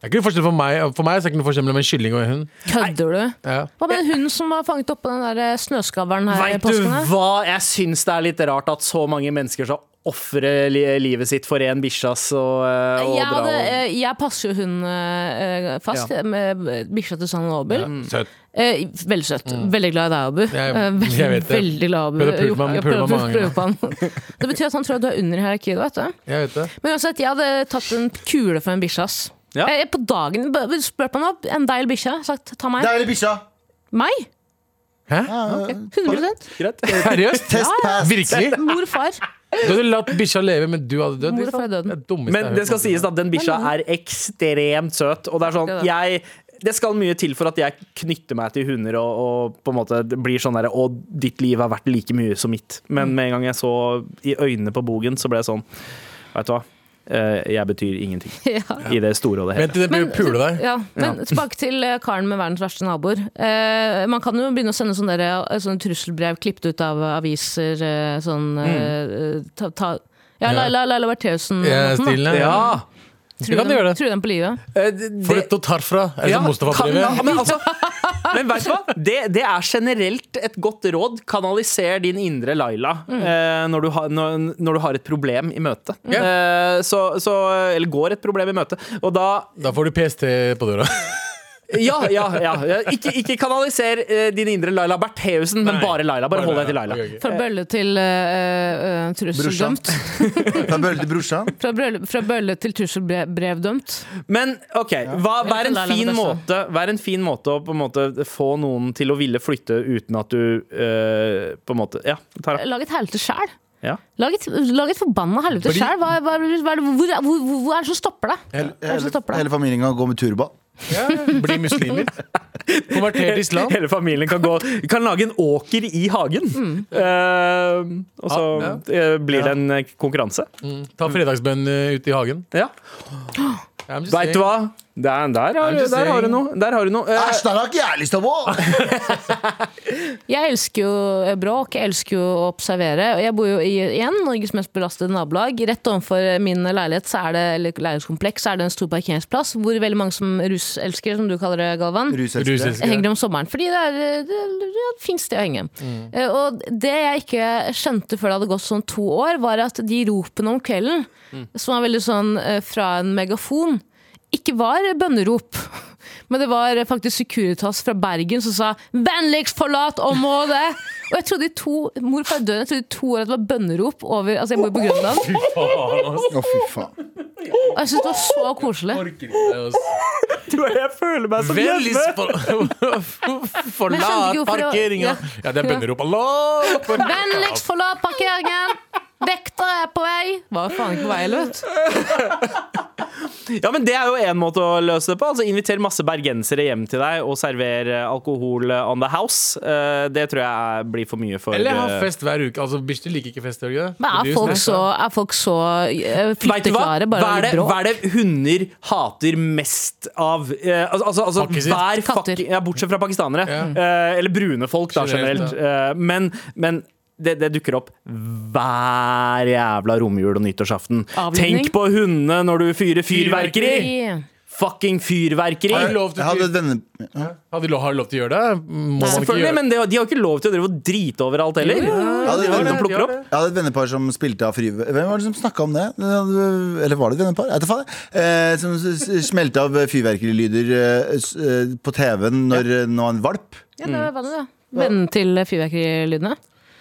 Speaker 3: Det er ikke noe forskjell for meg For meg så er det ikke noe forskjell mellom en kylling og en hund.
Speaker 5: Kødder du?
Speaker 3: Ja.
Speaker 5: Hva med den hunden som var fanget oppå den der eh, snøskaveren her i
Speaker 2: Veit du
Speaker 5: påsken? her?
Speaker 2: hva, jeg syns det er litt rart at så mange mennesker skal ofre li livet sitt for én bikkje, ass, og, eh, og
Speaker 5: Jeg,
Speaker 2: dra
Speaker 5: hadde,
Speaker 2: og-
Speaker 5: eh, jeg passer jo hunden eh, fast med bikkja til Sanne Aabel.
Speaker 3: Søt.
Speaker 5: Eh, veldig søt. Veldig glad i deg, Abu.
Speaker 3: Mm. Jeg-
Speaker 5: Eh, veldig,
Speaker 3: jeg vet det.
Speaker 5: veldig glad i Abu.
Speaker 3: Prøvde å pule på han-
Speaker 5: Jeg
Speaker 3: pule på han
Speaker 5: prøvde å
Speaker 3: mange
Speaker 5: pule på han. Det betyr at han tror at du er under i hierarkiet. Vet du.
Speaker 3: Jeg vet det.
Speaker 5: Men uansett, jeg hadde tatt en kule for en bikkje. ass.
Speaker 2: Ja.
Speaker 5: Eh, På dagen b- b- spurte man opp en deg eller bikkja. Sagt ta meg.
Speaker 4: Deilig bikkja!
Speaker 5: Meg?
Speaker 3: Hæ?
Speaker 5: 100
Speaker 2: Greit.
Speaker 3: Seriøst?
Speaker 4: Test pass.
Speaker 3: Virkelig?
Speaker 5: Mor og far.
Speaker 3: Du hadde latt bikkja leve, men du hadde dødd?
Speaker 5: Mor
Speaker 3: ikke sant?
Speaker 5: fra døden.
Speaker 3: Det er dummeste jeg
Speaker 2: Men
Speaker 3: har
Speaker 2: det
Speaker 3: hørt
Speaker 2: skal
Speaker 3: om.
Speaker 2: sies at den bikkja er ekstremt søt. Og det er sånn,
Speaker 5: Det er det.
Speaker 2: jeg det skal mye til for at jeg knytter meg til hunder og, og på en måte blir sånn derre Å, ditt liv er verdt like mye som mitt.
Speaker 5: Mm.
Speaker 2: Men med en gang jeg så i øynene på Bogen, så ble jeg sånn Vet du hva, Eh, jeg betyr ingenting
Speaker 5: Ja.
Speaker 2: i det store og det hele.
Speaker 3: Vent til den blir pule deg.
Speaker 5: Ja, men tilbake til eh, karen med verdens verste naboer. Eh, man kan jo begynne å sende sånne, der, eh, sånne trusselbrev klippet ut av eh, aviser. Eh, sånn eh, ta, ta,
Speaker 3: Mm.
Speaker 5: Ja,
Speaker 3: Ja.
Speaker 5: Laila Laila Bertheussen.
Speaker 3: Ja,
Speaker 5: og sånn, da.
Speaker 3: Stilen, ja. Du
Speaker 5: True
Speaker 3: kan
Speaker 5: dem-
Speaker 3: gjøre det.
Speaker 5: True dem på livet.
Speaker 2: Eh, det-
Speaker 3: For et tarfra. Er det
Speaker 2: Ja,
Speaker 3: som Mustafa
Speaker 2: kan-
Speaker 3: driver?
Speaker 2: ja, Men, altså, men vet du hva? Det, det er generelt et godt råd. Kanaliser din indre Laila eh, når, du har, når, når du har et problem i møte. Eh, så, så, eller går et problem i møte. Og da
Speaker 3: Da får du PST på døra.
Speaker 2: Ja, ja, ja. Ikke, ikke kanaliser eh, din indre Laila Bertheussen, men
Speaker 3: Nei.
Speaker 2: bare Laila. Bare hold deg til
Speaker 3: Ok,
Speaker 2: Laila.
Speaker 3: ok.
Speaker 5: Fra bølle til eh, eh,
Speaker 4: Brorsan.
Speaker 5: trusseldømt.
Speaker 4: Fra bølle til brorsan.
Speaker 5: Fra bølle, fra bølle til trusselbrevdømt.
Speaker 2: Men OK, hva, vær, en
Speaker 5: Laila
Speaker 2: fin
Speaker 5: Bertheussen.
Speaker 2: måte, vær en fin måte å på en måte få noen til å ville flytte uten at du eh, på en måte Ja, Tara.
Speaker 5: Lag et helvete sjæl.
Speaker 2: Ja.
Speaker 5: Lag et, lag et forbanna helvete
Speaker 3: Fordi-
Speaker 5: sjæl. Hva, hva, hva, er det- hvor, hvor, hvor, hvor er det som stopper deg?
Speaker 4: Hele,
Speaker 5: er det som
Speaker 4: hele,
Speaker 5: stopper deg?
Speaker 4: hele familien kan gå med turba.
Speaker 3: Bli muslimer. Konverter til islam.
Speaker 2: Hele familien kan, gå, Mm. kan lage en åker i hagen. Eh, og så eh, blir det en eh, konkurranse.
Speaker 3: Ta fredagsbønn eh, ute i hagen.
Speaker 2: Ja.
Speaker 3: I'm just
Speaker 2: Veit du
Speaker 3: saying.
Speaker 2: hva? Der, der, har,
Speaker 3: I'm just
Speaker 2: der har du
Speaker 3: saying.
Speaker 2: noe. Der har du noe. Eh,
Speaker 4: Æsj, der har ikke jeg lyst til å bo!
Speaker 5: Jeg elsker jo bråk, jeg elsker jo å observere. Og Jeg bor jo i igjen, Norges mest belastede nabolag. Rett overfor min leilighet, så er det, eller leilighetskompleks, så er det en stor parkeringsplass hvor veldig mange som ruselskere, som du kaller det, Galvan,
Speaker 4: Ruselskere.
Speaker 3: Ruselskere.
Speaker 5: henger om sommeren. Fordi det er det, det, det er et fint sted å henge. Eh, Og det jeg ikke skjønte før det hadde gått sånn to år, var at de ropene om kvelden, som var veldig sånn eh, fra en megafon, ikke var bønnerop. Men det var faktisk Securitas fra Bergen som sa 'vennligst forlat området'! Og jeg trodde i to mor far døden, jeg trodde i to år at det var bønnerop over Altså, jeg bor på Grønland.
Speaker 4: Å, fy faen.
Speaker 5: Og jeg syntes det var så koselig.
Speaker 2: jeg føler meg som hjemme!
Speaker 3: Vennligst for-
Speaker 5: Men jeg skjønte ikke
Speaker 3: Forlat
Speaker 5: hvorfor det var-
Speaker 3: parkeringa!
Speaker 5: ja.
Speaker 3: Ja, det er bønnerop. Allah! akbar.
Speaker 5: Vennligst forlat parkeringen! Vektere er på vei! Var jo faen ikke på vei, eller vet du.
Speaker 2: Ja, men Det er jo én måte å løse det på. Altså Inviter masse bergensere hjem til deg og server eh, alkohol eh, on the house. Eh, Det tror jeg er- blir for mye for
Speaker 3: Eller ha
Speaker 2: eh,
Speaker 3: fest hver uke. Altså, Bikkjer liker ikke fest. gjør de det?
Speaker 5: Men
Speaker 3: Det
Speaker 5: er
Speaker 3: blir jo
Speaker 5: folk
Speaker 3: snakk,
Speaker 5: så,
Speaker 3: da.
Speaker 5: er folk så eh,
Speaker 2: Vet du hva?
Speaker 5: flytteklare? Bare
Speaker 2: Hva er, det,
Speaker 5: litt brå?
Speaker 2: hva er det hunder hater mest av? Eh, altså, altså, altså
Speaker 3: Pakkisitt.
Speaker 2: hver
Speaker 5: Katter.
Speaker 2: fucking- ja, Bortsett fra pakistanere. Eh, eller brune folk, da,
Speaker 3: Generelt,
Speaker 2: generelt. Eh, men men det, det dukker opp hver jævla romjul og nyttårsaften.
Speaker 5: Avledning.
Speaker 2: Tenk på hundene når du fyrer fyrverkeri!
Speaker 5: Fyrverkeri.
Speaker 2: Fucking fyrverkeri!
Speaker 3: Har du lov til
Speaker 4: Jeg hadde
Speaker 3: å-
Speaker 4: et venne...
Speaker 3: Har de lov- har de lov til å gjøre det? Må man ikke
Speaker 2: Selvfølgelig,
Speaker 3: gjøre det?
Speaker 2: men det, de har ikke lov til å drive og drite over alt heller.
Speaker 4: Ja, det
Speaker 2: de
Speaker 4: er
Speaker 2: har noe
Speaker 4: det,
Speaker 2: å
Speaker 3: de har
Speaker 2: plukke opp.
Speaker 3: det.
Speaker 4: Jeg hadde et vennepar som spilte av fyrver- Hvem var det som snakka om det? Eller var det et vennepar? Jeg vet da faen. Eh, som s- s- smelte av fyrverkerilyder eh, s- eh, på TV-en når, eh, når han valp.
Speaker 5: Ja, det var vanlig, da. Vennen til fyrverkerilydene?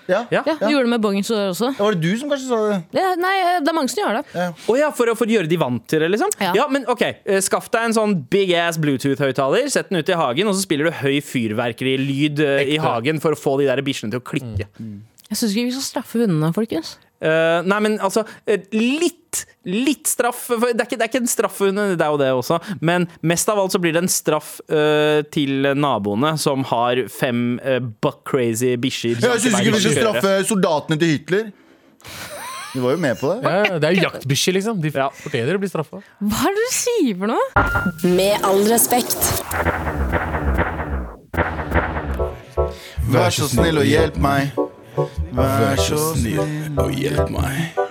Speaker 4: Ja.
Speaker 2: Ja.
Speaker 5: Ja, gjorde det med bongens år også.
Speaker 4: Var det du som kanskje sa det?
Speaker 5: Det, nei, eh, det er mange som gjør det.
Speaker 2: Å ja, for, å- for å gjøre de vant til det, liksom? Ja.
Speaker 5: Ja.
Speaker 2: men ok, eh, Skaff deg en sånn big ass Bluetooth-høyttaler, sett den ut i hagen, og så spiller du høy fyrverkerilyd eh, i
Speaker 3: Ekte.
Speaker 2: hagen for å få de der bikkjene til å klikke.
Speaker 5: Jeg syns ikke vi skal straffe hundene, folkens.
Speaker 2: Eh, nei, men altså, eh, litt Litt straff. For det, er ikke, det er ikke en straff for hundene, det er jo det også, men mest av alt så blir det en straff eh, til naboene som har fem eh, buck-crazy bikkjer.
Speaker 4: Jeg syns ikke vi skal
Speaker 2: Kjøre.
Speaker 4: straffe soldatene til Hitler. Du var jo med på det.
Speaker 3: Ja, det er jo jaktbikkjer, liksom. De
Speaker 2: Ja.
Speaker 3: fortjener å bli straffa.
Speaker 5: Hva er det du sier for noe?
Speaker 1: Med all respekt.
Speaker 4: Vær så snill og hjelp meg. Vær så snill.
Speaker 3: Og hjelp meg.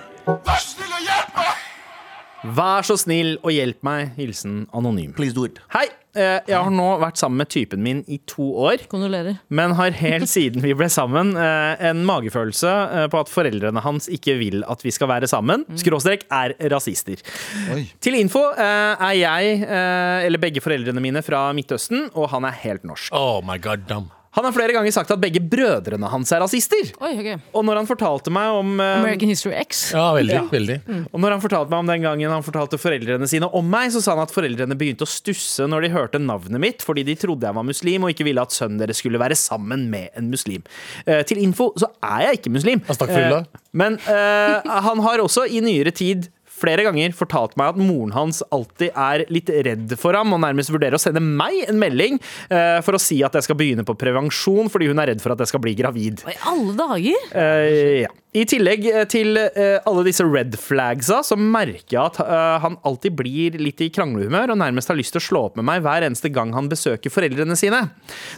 Speaker 2: Vær så snill og hjelp meg. Hilsen anonym.
Speaker 4: Please do it.
Speaker 2: Hei! eh, Jeg har nå vært sammen med typen min i to år,
Speaker 5: Kondolerer.
Speaker 2: men har helt siden vi ble sammen, eh, en magefølelse eh, på at foreldrene hans ikke vil at vi skal være sammen. Skråstrek er rasister.
Speaker 4: Oi.
Speaker 2: Til info eh, er jeg, eh, eller begge foreldrene mine, fra Midtøsten, og han er helt norsk.
Speaker 3: Oh my god, damn.
Speaker 2: Han har flere ganger sagt at begge brødrene hans er rasister.
Speaker 5: Oi, ok.
Speaker 2: Og når han fortalte meg om eh,
Speaker 5: Um, American History X.
Speaker 3: Ja, veldig. veldig.
Speaker 2: Og når han fortalte meg om den gangen han fortalte foreldrene sine om meg, så sa han at foreldrene begynte å stusse når de hørte navnet mitt, fordi de trodde jeg var muslim og ikke ville at sønnen deres skulle være sammen med en muslim. Eh, til info så er jeg ikke muslim.
Speaker 3: Astaghfirullah.
Speaker 2: Eh, men eh, han har også i nyere tid flere ganger fortalt meg at moren hans alltid er litt redd for ham og nærmest vurderer å sende meg en melding eh, for å si at jeg skal begynne på prevensjon fordi hun er redd for at jeg skal bli gravid.
Speaker 5: Hva i alle dager?
Speaker 2: Eh, ja. I tillegg eh, til eh, alle disse red flagsa, så merker jeg at eh, han alltid blir litt i kranglehumør og nærmest har lyst til å slå opp med meg hver eneste gang han besøker foreldrene sine.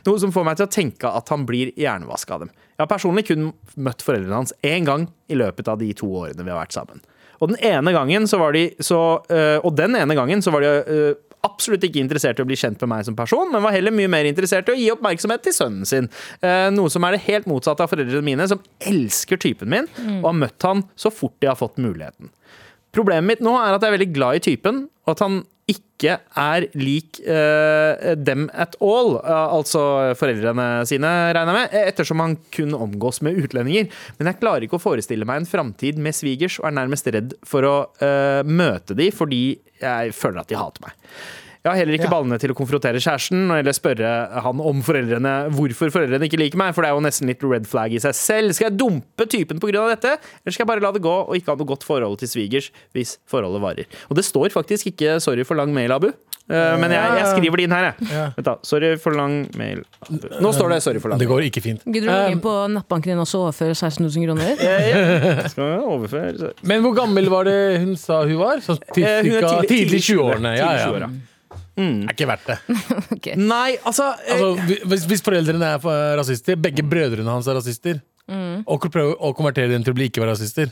Speaker 2: Noe som får meg til å tenke at han blir hjernevaska av dem. Jeg har personlig kun møtt foreldrene hans én gang i løpet av de to årene vi har vært sammen. Og den ene gangen så var de så, eh, Og den ene gangen så var de eh, absolutt ikke interessert i å bli kjent med meg som person, men var heller mye mer interessert i å gi oppmerksomhet til sønnen sin. Eh, Noe som er det helt motsatte av foreldrene mine, som elsker typen min og har møtt han så fort de har fått muligheten. Problemet mitt nå er at jeg er veldig glad i typen, og at han ikke er lik eh, dem at all, eh, altså foreldrene sine, regner jeg med, eh, ettersom han kun omgås med utlendinger. Men jeg klarer ikke å forestille meg en framtid med svigers, og er nærmest redd for å eh, møte de fordi jeg føler at de hater meg. Jeg har heller ikke ballene til å konfrontere kjæresten eller spørre han om foreldrene hvorfor foreldrene ikke liker meg, for det er jo nesten litt red flag i seg selv. Skal jeg dumpe typen pga. dette, eller skal jeg bare la det gå og ikke ha noe godt forhold til svigers hvis forholdet varer? Og det står faktisk ikke 'sorry for lang mail', Abu. Eh, Men jeg, jeg skriver det inn her, jeg. Vent da, Sorry for lang mail. Abu. Nå står det 'sorry for lang
Speaker 3: Det
Speaker 2: mail'.
Speaker 3: går ikke fint.
Speaker 2: Um,
Speaker 5: Gidder du å ringe på nettbanken din også og overføre 16 000 kroner?
Speaker 2: eh, Skal jeg overføre så-
Speaker 3: Men hvor gammel var det hun sa hun var? Så til,
Speaker 2: Eh, hun er
Speaker 3: cirka,
Speaker 2: tidlig-
Speaker 3: tidlig
Speaker 2: tidlig
Speaker 3: 20-årene. Ja, ja.
Speaker 2: 20-åra.
Speaker 3: Det er ikke verdt det.
Speaker 2: Nei, altså, eh,
Speaker 3: Altså, hvi- hvis, hvis foreldrene er eh, rasister, begge brødrene hans er rasister,
Speaker 5: Mm.
Speaker 3: og prøver å konvertere dem til å bli ikke være rasister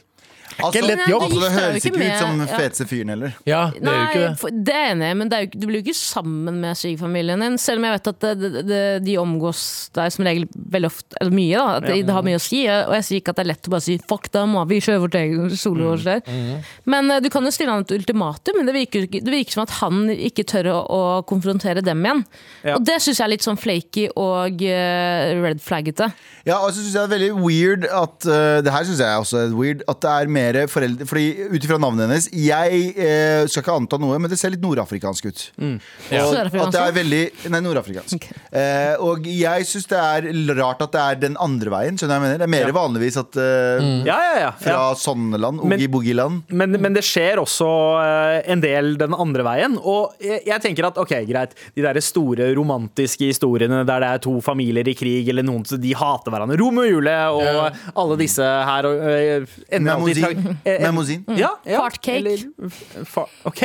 Speaker 4: Altså,
Speaker 3: lett jobb.
Speaker 4: altså, det
Speaker 5: Nei, det
Speaker 4: høres
Speaker 5: gikk
Speaker 4: ikke ut
Speaker 5: deg jo
Speaker 4: som
Speaker 5: ikke med, ja.
Speaker 4: feteste fyren heller.
Speaker 3: Ja, det
Speaker 5: Nei,
Speaker 3: er jo ikke det.
Speaker 5: for- det er jeg enig i, men det er jo, ikke- du blir jo ikke sammen med svigerfamilien din. Selv om jeg vet at det, det, det, de omgås deg som regel veldig ofte, eller mye, da. At det, det har mye å si. Og jeg sier ikke at det er lett å bare si fuck, da må vi kjøre vårt eget solo. og
Speaker 3: Mm,
Speaker 5: sånn. Men eh, du kan jo stille han et ultimatum, men det virker, jo ikke- det virker som at han ikke tør å, å konfrontere dem igjen.
Speaker 2: Ja.
Speaker 5: Og det syns jeg er litt sånn flaky og eh, red flaggete.
Speaker 4: Ja, og så synes jeg det er veldig weird at eh, Det her synes jeg også er weird At det er mer foreldre Fordi ut ifra navnet hennes Jeg eh, skal ikke anta noe Men det ser litt nordafrikansk ut Og
Speaker 5: Sørafrikansk?
Speaker 4: At det er veldig Nei, nordafrikansk
Speaker 5: Ok.
Speaker 4: Eh, Og jeg synes det er rart at det er den andre veien Skjønner du hva jeg mener Det er mer vanligvis at eh,
Speaker 2: ja, ja, ja.
Speaker 4: Fra
Speaker 2: ja.
Speaker 4: sånne land
Speaker 2: Men-
Speaker 4: Oogie-boogie-land
Speaker 2: men, men det skjer også eh, en del den andre veien. Og jeg, jeg tenker at ok, greit, de der store romantiske historiene der det er to familier i krig, eller noen som de hater hverandre. Romeo og Julie og alle disse her. Og, eh, ender alltid i
Speaker 4: Mimosine.
Speaker 2: tra- eh, eh,
Speaker 4: Mimosine.
Speaker 2: Ja, ja,
Speaker 5: Fartcake.
Speaker 2: eller- fa OK.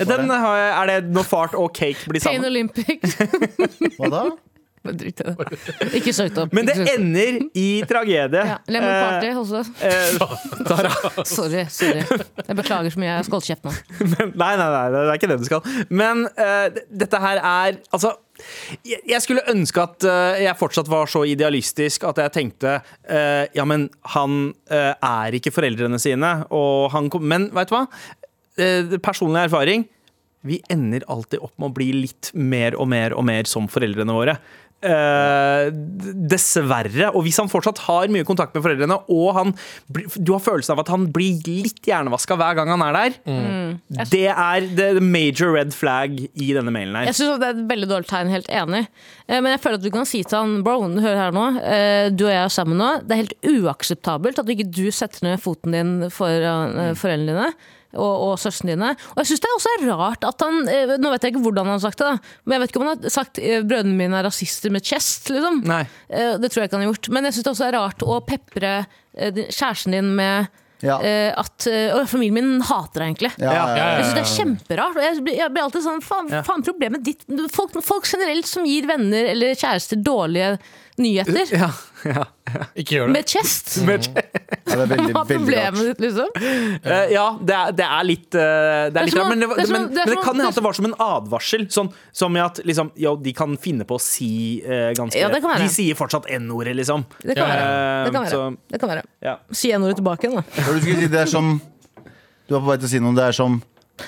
Speaker 2: Den har jeg, er det når fart og cake blir
Speaker 5: Pain
Speaker 2: sammen?
Speaker 5: Olympics.
Speaker 4: Hva da?
Speaker 5: Drit i det. Ikke søkt opp.
Speaker 2: Men det
Speaker 5: Ikke søkt opp.
Speaker 2: ender i tragedie.
Speaker 5: ja, Lemon Party også.
Speaker 2: Eh, eh,
Speaker 5: Sorry. sorry Jeg beklager så mye. Jeg skal holde kjeft nå.
Speaker 2: Nei, nei, nei, det er ikke det du skal. Men eh, d- dette her er Altså, jeg, jeg skulle ønske at eh, jeg fortsatt var så idealistisk at jeg tenkte eh, Ja, men han eh, er ikke foreldrene sine, og han kom Men vet du hva? Eh, personlig erfaring vi ender alltid opp med å bli litt mer og mer og mer som foreldrene våre. Eh, d- dessverre. Og hvis han fortsatt har mye kontakt med foreldrene, og han, blir- du har følelsen av at han blir litt hjernevaska hver gang han er der, det er the major red flag i denne mailen her.
Speaker 5: Jeg synes Det er et veldig dårlig tegn. Helt enig. Eh, Men jeg føler at du kan si til han Bro, hør her nå. eh, Du og jeg er sammen nå. Det er helt uakseptabelt at ikke du setter ned foten din for eh, foreldrene dine. Og, og søstrene dine. Og jeg syns det er også rart at han eh, Nå vet jeg ikke hvordan han har sagt det, da. Men jeg vet ikke om han har sagt eh, 'brødrene mine er rasister med chest'. liksom
Speaker 2: Nei.
Speaker 5: Eh, Det tror jeg ikke han har gjort. Men jeg syns det også er rart å pepre eh, din- kjæresten din med
Speaker 4: Ja, ja,
Speaker 5: eh, at eh, «Å, familien min hater deg, egentlig.
Speaker 4: ja, ja.
Speaker 5: Jeg synes det er kjemperart. og Jeg blir, jeg blir alltid sånn, faen,
Speaker 2: Ja.
Speaker 5: faen problemet ditt folk, folk generelt som gir venner eller kjærester dårlige nyheter.
Speaker 2: Ja, ja.
Speaker 3: Ikke gjør det.
Speaker 5: Med chest!
Speaker 4: Ja, det er veldig,
Speaker 5: Hva er
Speaker 4: veldig rart
Speaker 5: problemet ditt, liksom?
Speaker 2: Eh, ja, det er, det er litt eh, Det er litt
Speaker 5: som
Speaker 2: rart,
Speaker 5: om-
Speaker 2: men det, var-
Speaker 5: det er som om-
Speaker 2: men,
Speaker 5: det er
Speaker 2: men det
Speaker 5: som om-
Speaker 2: kan hende at det var som en advarsel. Sånn, som i at liksom, jo, de kan finne på å si eh, ganske
Speaker 5: Ja, det kan være.
Speaker 2: De sier fortsatt N-ordet, liksom.
Speaker 5: Det kan
Speaker 3: Ja,
Speaker 5: være.
Speaker 2: Eh,
Speaker 5: Det kan være.
Speaker 2: så-
Speaker 5: Det kan være.
Speaker 2: ja.
Speaker 5: Si n-ordet tilbake igjen, da.
Speaker 4: Hva var det Du skulle si det er som Du var på vei til å si noe Det er som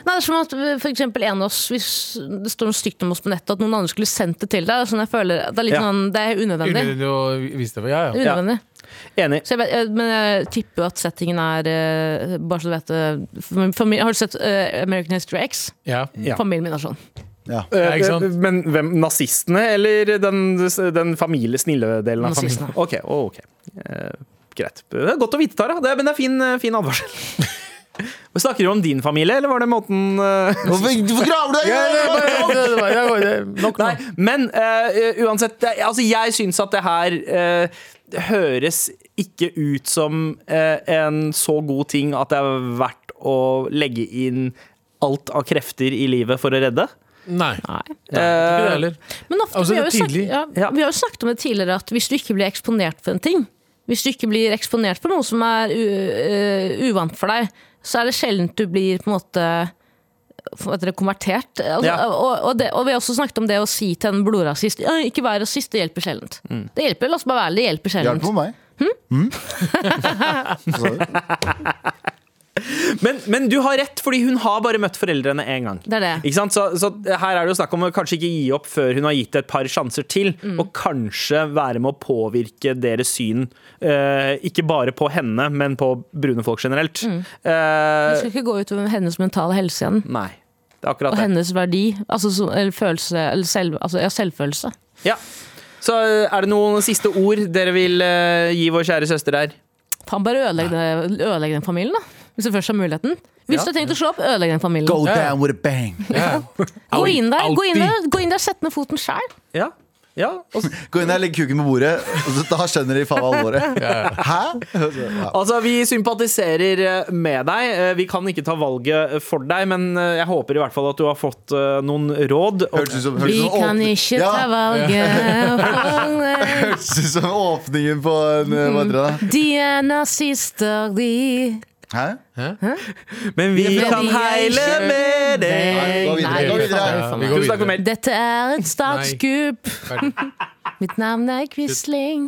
Speaker 5: Nei, det er som at eh, for eksempel en av oss Hvis det står noe stygt om oss på nettet, at noen andre skulle sendt det til deg. Sånn jeg føler, det er litt
Speaker 2: Ja.
Speaker 5: sånn, det er unødvendig.
Speaker 3: Unødvendig å vise det for. Ja, ja.
Speaker 5: unødvendig.
Speaker 2: Enig.
Speaker 5: Så jeg vet, jeg- men jeg tipper jo at settingen er eh, Bare så du vet eh, fami- fami- Har du sett eh, American History X?
Speaker 3: ja.
Speaker 2: Ja.
Speaker 5: Familien min er sånn.
Speaker 4: Ja.
Speaker 2: Eh,
Speaker 3: ikke sant?
Speaker 2: eh, Men hvem? Nazistene eller den, den familie, snille delen av
Speaker 5: Nazistene.
Speaker 2: familien? Ok, å, ok. Eh, greit. Det er godt å vite, Tara. Det er, men det er fin, eh, fin advarsel. Snakker du om din familie, eller var det måten eh,
Speaker 4: Hvorfor, hvorfor graver du
Speaker 3: Ja,
Speaker 4: deg?
Speaker 3: det er bare- det er bare- det er bare- Nok nå.
Speaker 2: Nei, men eh, uansett det, altså Jeg syns at det her eh, det høres ikke ut som eh, en så god ting at det er verdt å legge inn alt av krefter i livet for å redde.
Speaker 3: Nei.
Speaker 2: Eh,
Speaker 3: Ikke det heller.
Speaker 5: Men ofte,
Speaker 3: Altså,
Speaker 5: vi, har jo
Speaker 3: det er
Speaker 5: snakket,
Speaker 3: tidlig.
Speaker 5: ja,
Speaker 2: Ja.
Speaker 5: vi har jo snakket om det tidligere at hvis du ikke blir eksponert for en ting, hvis du ikke blir eksponert for noe som er u, eh, uvant for deg, så er det sjelden du blir på en måte hva heter det, konvertert. Altså,
Speaker 2: Ja.
Speaker 5: og, og, det, og vi har også snakket om det å si til en blodrasist «Ja, ikke vær rasist, det hjelper sjelden. Det hjelper, la oss bare være ærlige, det hjelper sjelden.
Speaker 4: Hjelp på meg.
Speaker 5: Hm?
Speaker 4: Hm? Mm? Så-
Speaker 2: men, men du har rett, fordi hun har bare møtt foreldrene én gang.
Speaker 5: Det er det.
Speaker 2: Ikke sant? Så, så her er det jo snakk om å kanskje ikke gi opp før hun har gitt det et par sjanser til, og kanskje være med å påvirke deres syn, eh, ikke bare på henne, men på brune folk generelt. Eh,
Speaker 5: Det skal ikke gå utover hennes mentale helse igjen.
Speaker 2: Nei. Det er akkurat
Speaker 5: Og
Speaker 2: det.
Speaker 5: hennes verdi, altså, så- eller følelse, eller selv, altså, ja, selvfølelse.
Speaker 2: Ja. Så eh, er det noen siste ord dere vil eh, gi vår kjære søster her?
Speaker 5: Faen, bare ødelegg, det, ødelegg den familien, da. Hvis du først har muligheten. Hvis
Speaker 2: Ja.
Speaker 5: du har tenkt å slå opp, ødelegg den familien.
Speaker 4: Go
Speaker 5: Gå,
Speaker 4: down with a bang.
Speaker 3: Ja.
Speaker 5: inn der, gå, inn
Speaker 3: Alltid.
Speaker 5: der, gå inn der, sett ned foten sjæl.
Speaker 2: Ja. ja. og s-
Speaker 4: Gå inn der, legg kuken på bordet. og så- Da skjønner de faen meg alvoret. Hæ? Ja.
Speaker 2: Altså, Vi sympatiserer eh, med deg. Eh, Vi kan ikke ta valget for deg, men eh, jeg håper i hvert fall at du har fått eh, noen råd. Og,
Speaker 4: Hørtes ut som, hørtes
Speaker 5: Vi
Speaker 4: ut som,
Speaker 5: kan
Speaker 4: åpning-
Speaker 5: ikke
Speaker 4: Ja,
Speaker 5: ta valget.
Speaker 4: hørtes ut som åpningen på en eh, Hva heter det?
Speaker 5: De er nazister, de.
Speaker 4: da? Hæ?
Speaker 2: men vi
Speaker 5: Men
Speaker 2: kan
Speaker 5: vi er
Speaker 2: heile
Speaker 5: ikke-
Speaker 2: med deg!
Speaker 4: Nei, gå videre,
Speaker 5: Nei,
Speaker 4: gå
Speaker 5: fy
Speaker 4: videre.
Speaker 5: faen.
Speaker 3: Ja, vi går
Speaker 2: Tusen takk for
Speaker 3: videre.
Speaker 2: mail.
Speaker 5: Dette er et statskupp.
Speaker 3: Ferdig.
Speaker 5: Mitt navn er Quisling.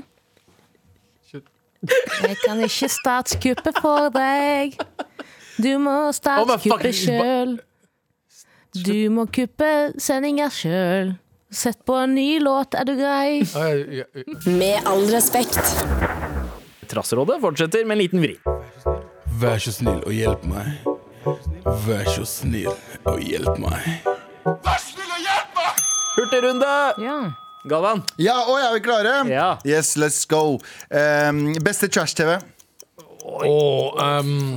Speaker 3: Shit.
Speaker 5: Jeg kan ikke statskuppe for deg. Du må statskuppe
Speaker 3: fucking-
Speaker 5: sjøl. Du må kuppe sendinga sjøl. Sett på en ny låt, er du grei?
Speaker 3: Ja, ja, ja.
Speaker 1: Med all respekt.
Speaker 2: Trassrådet fortsetter med en liten vri.
Speaker 3: Vær så snill og hjelp meg. Vær så snill og hjelp meg.
Speaker 2: Hurtigrunde!
Speaker 5: Ja.
Speaker 2: Galvan?
Speaker 4: Ja, å, er vi klare?
Speaker 2: Ja.
Speaker 4: Yes, let's go. Um, beste trash-TV.
Speaker 3: Og um,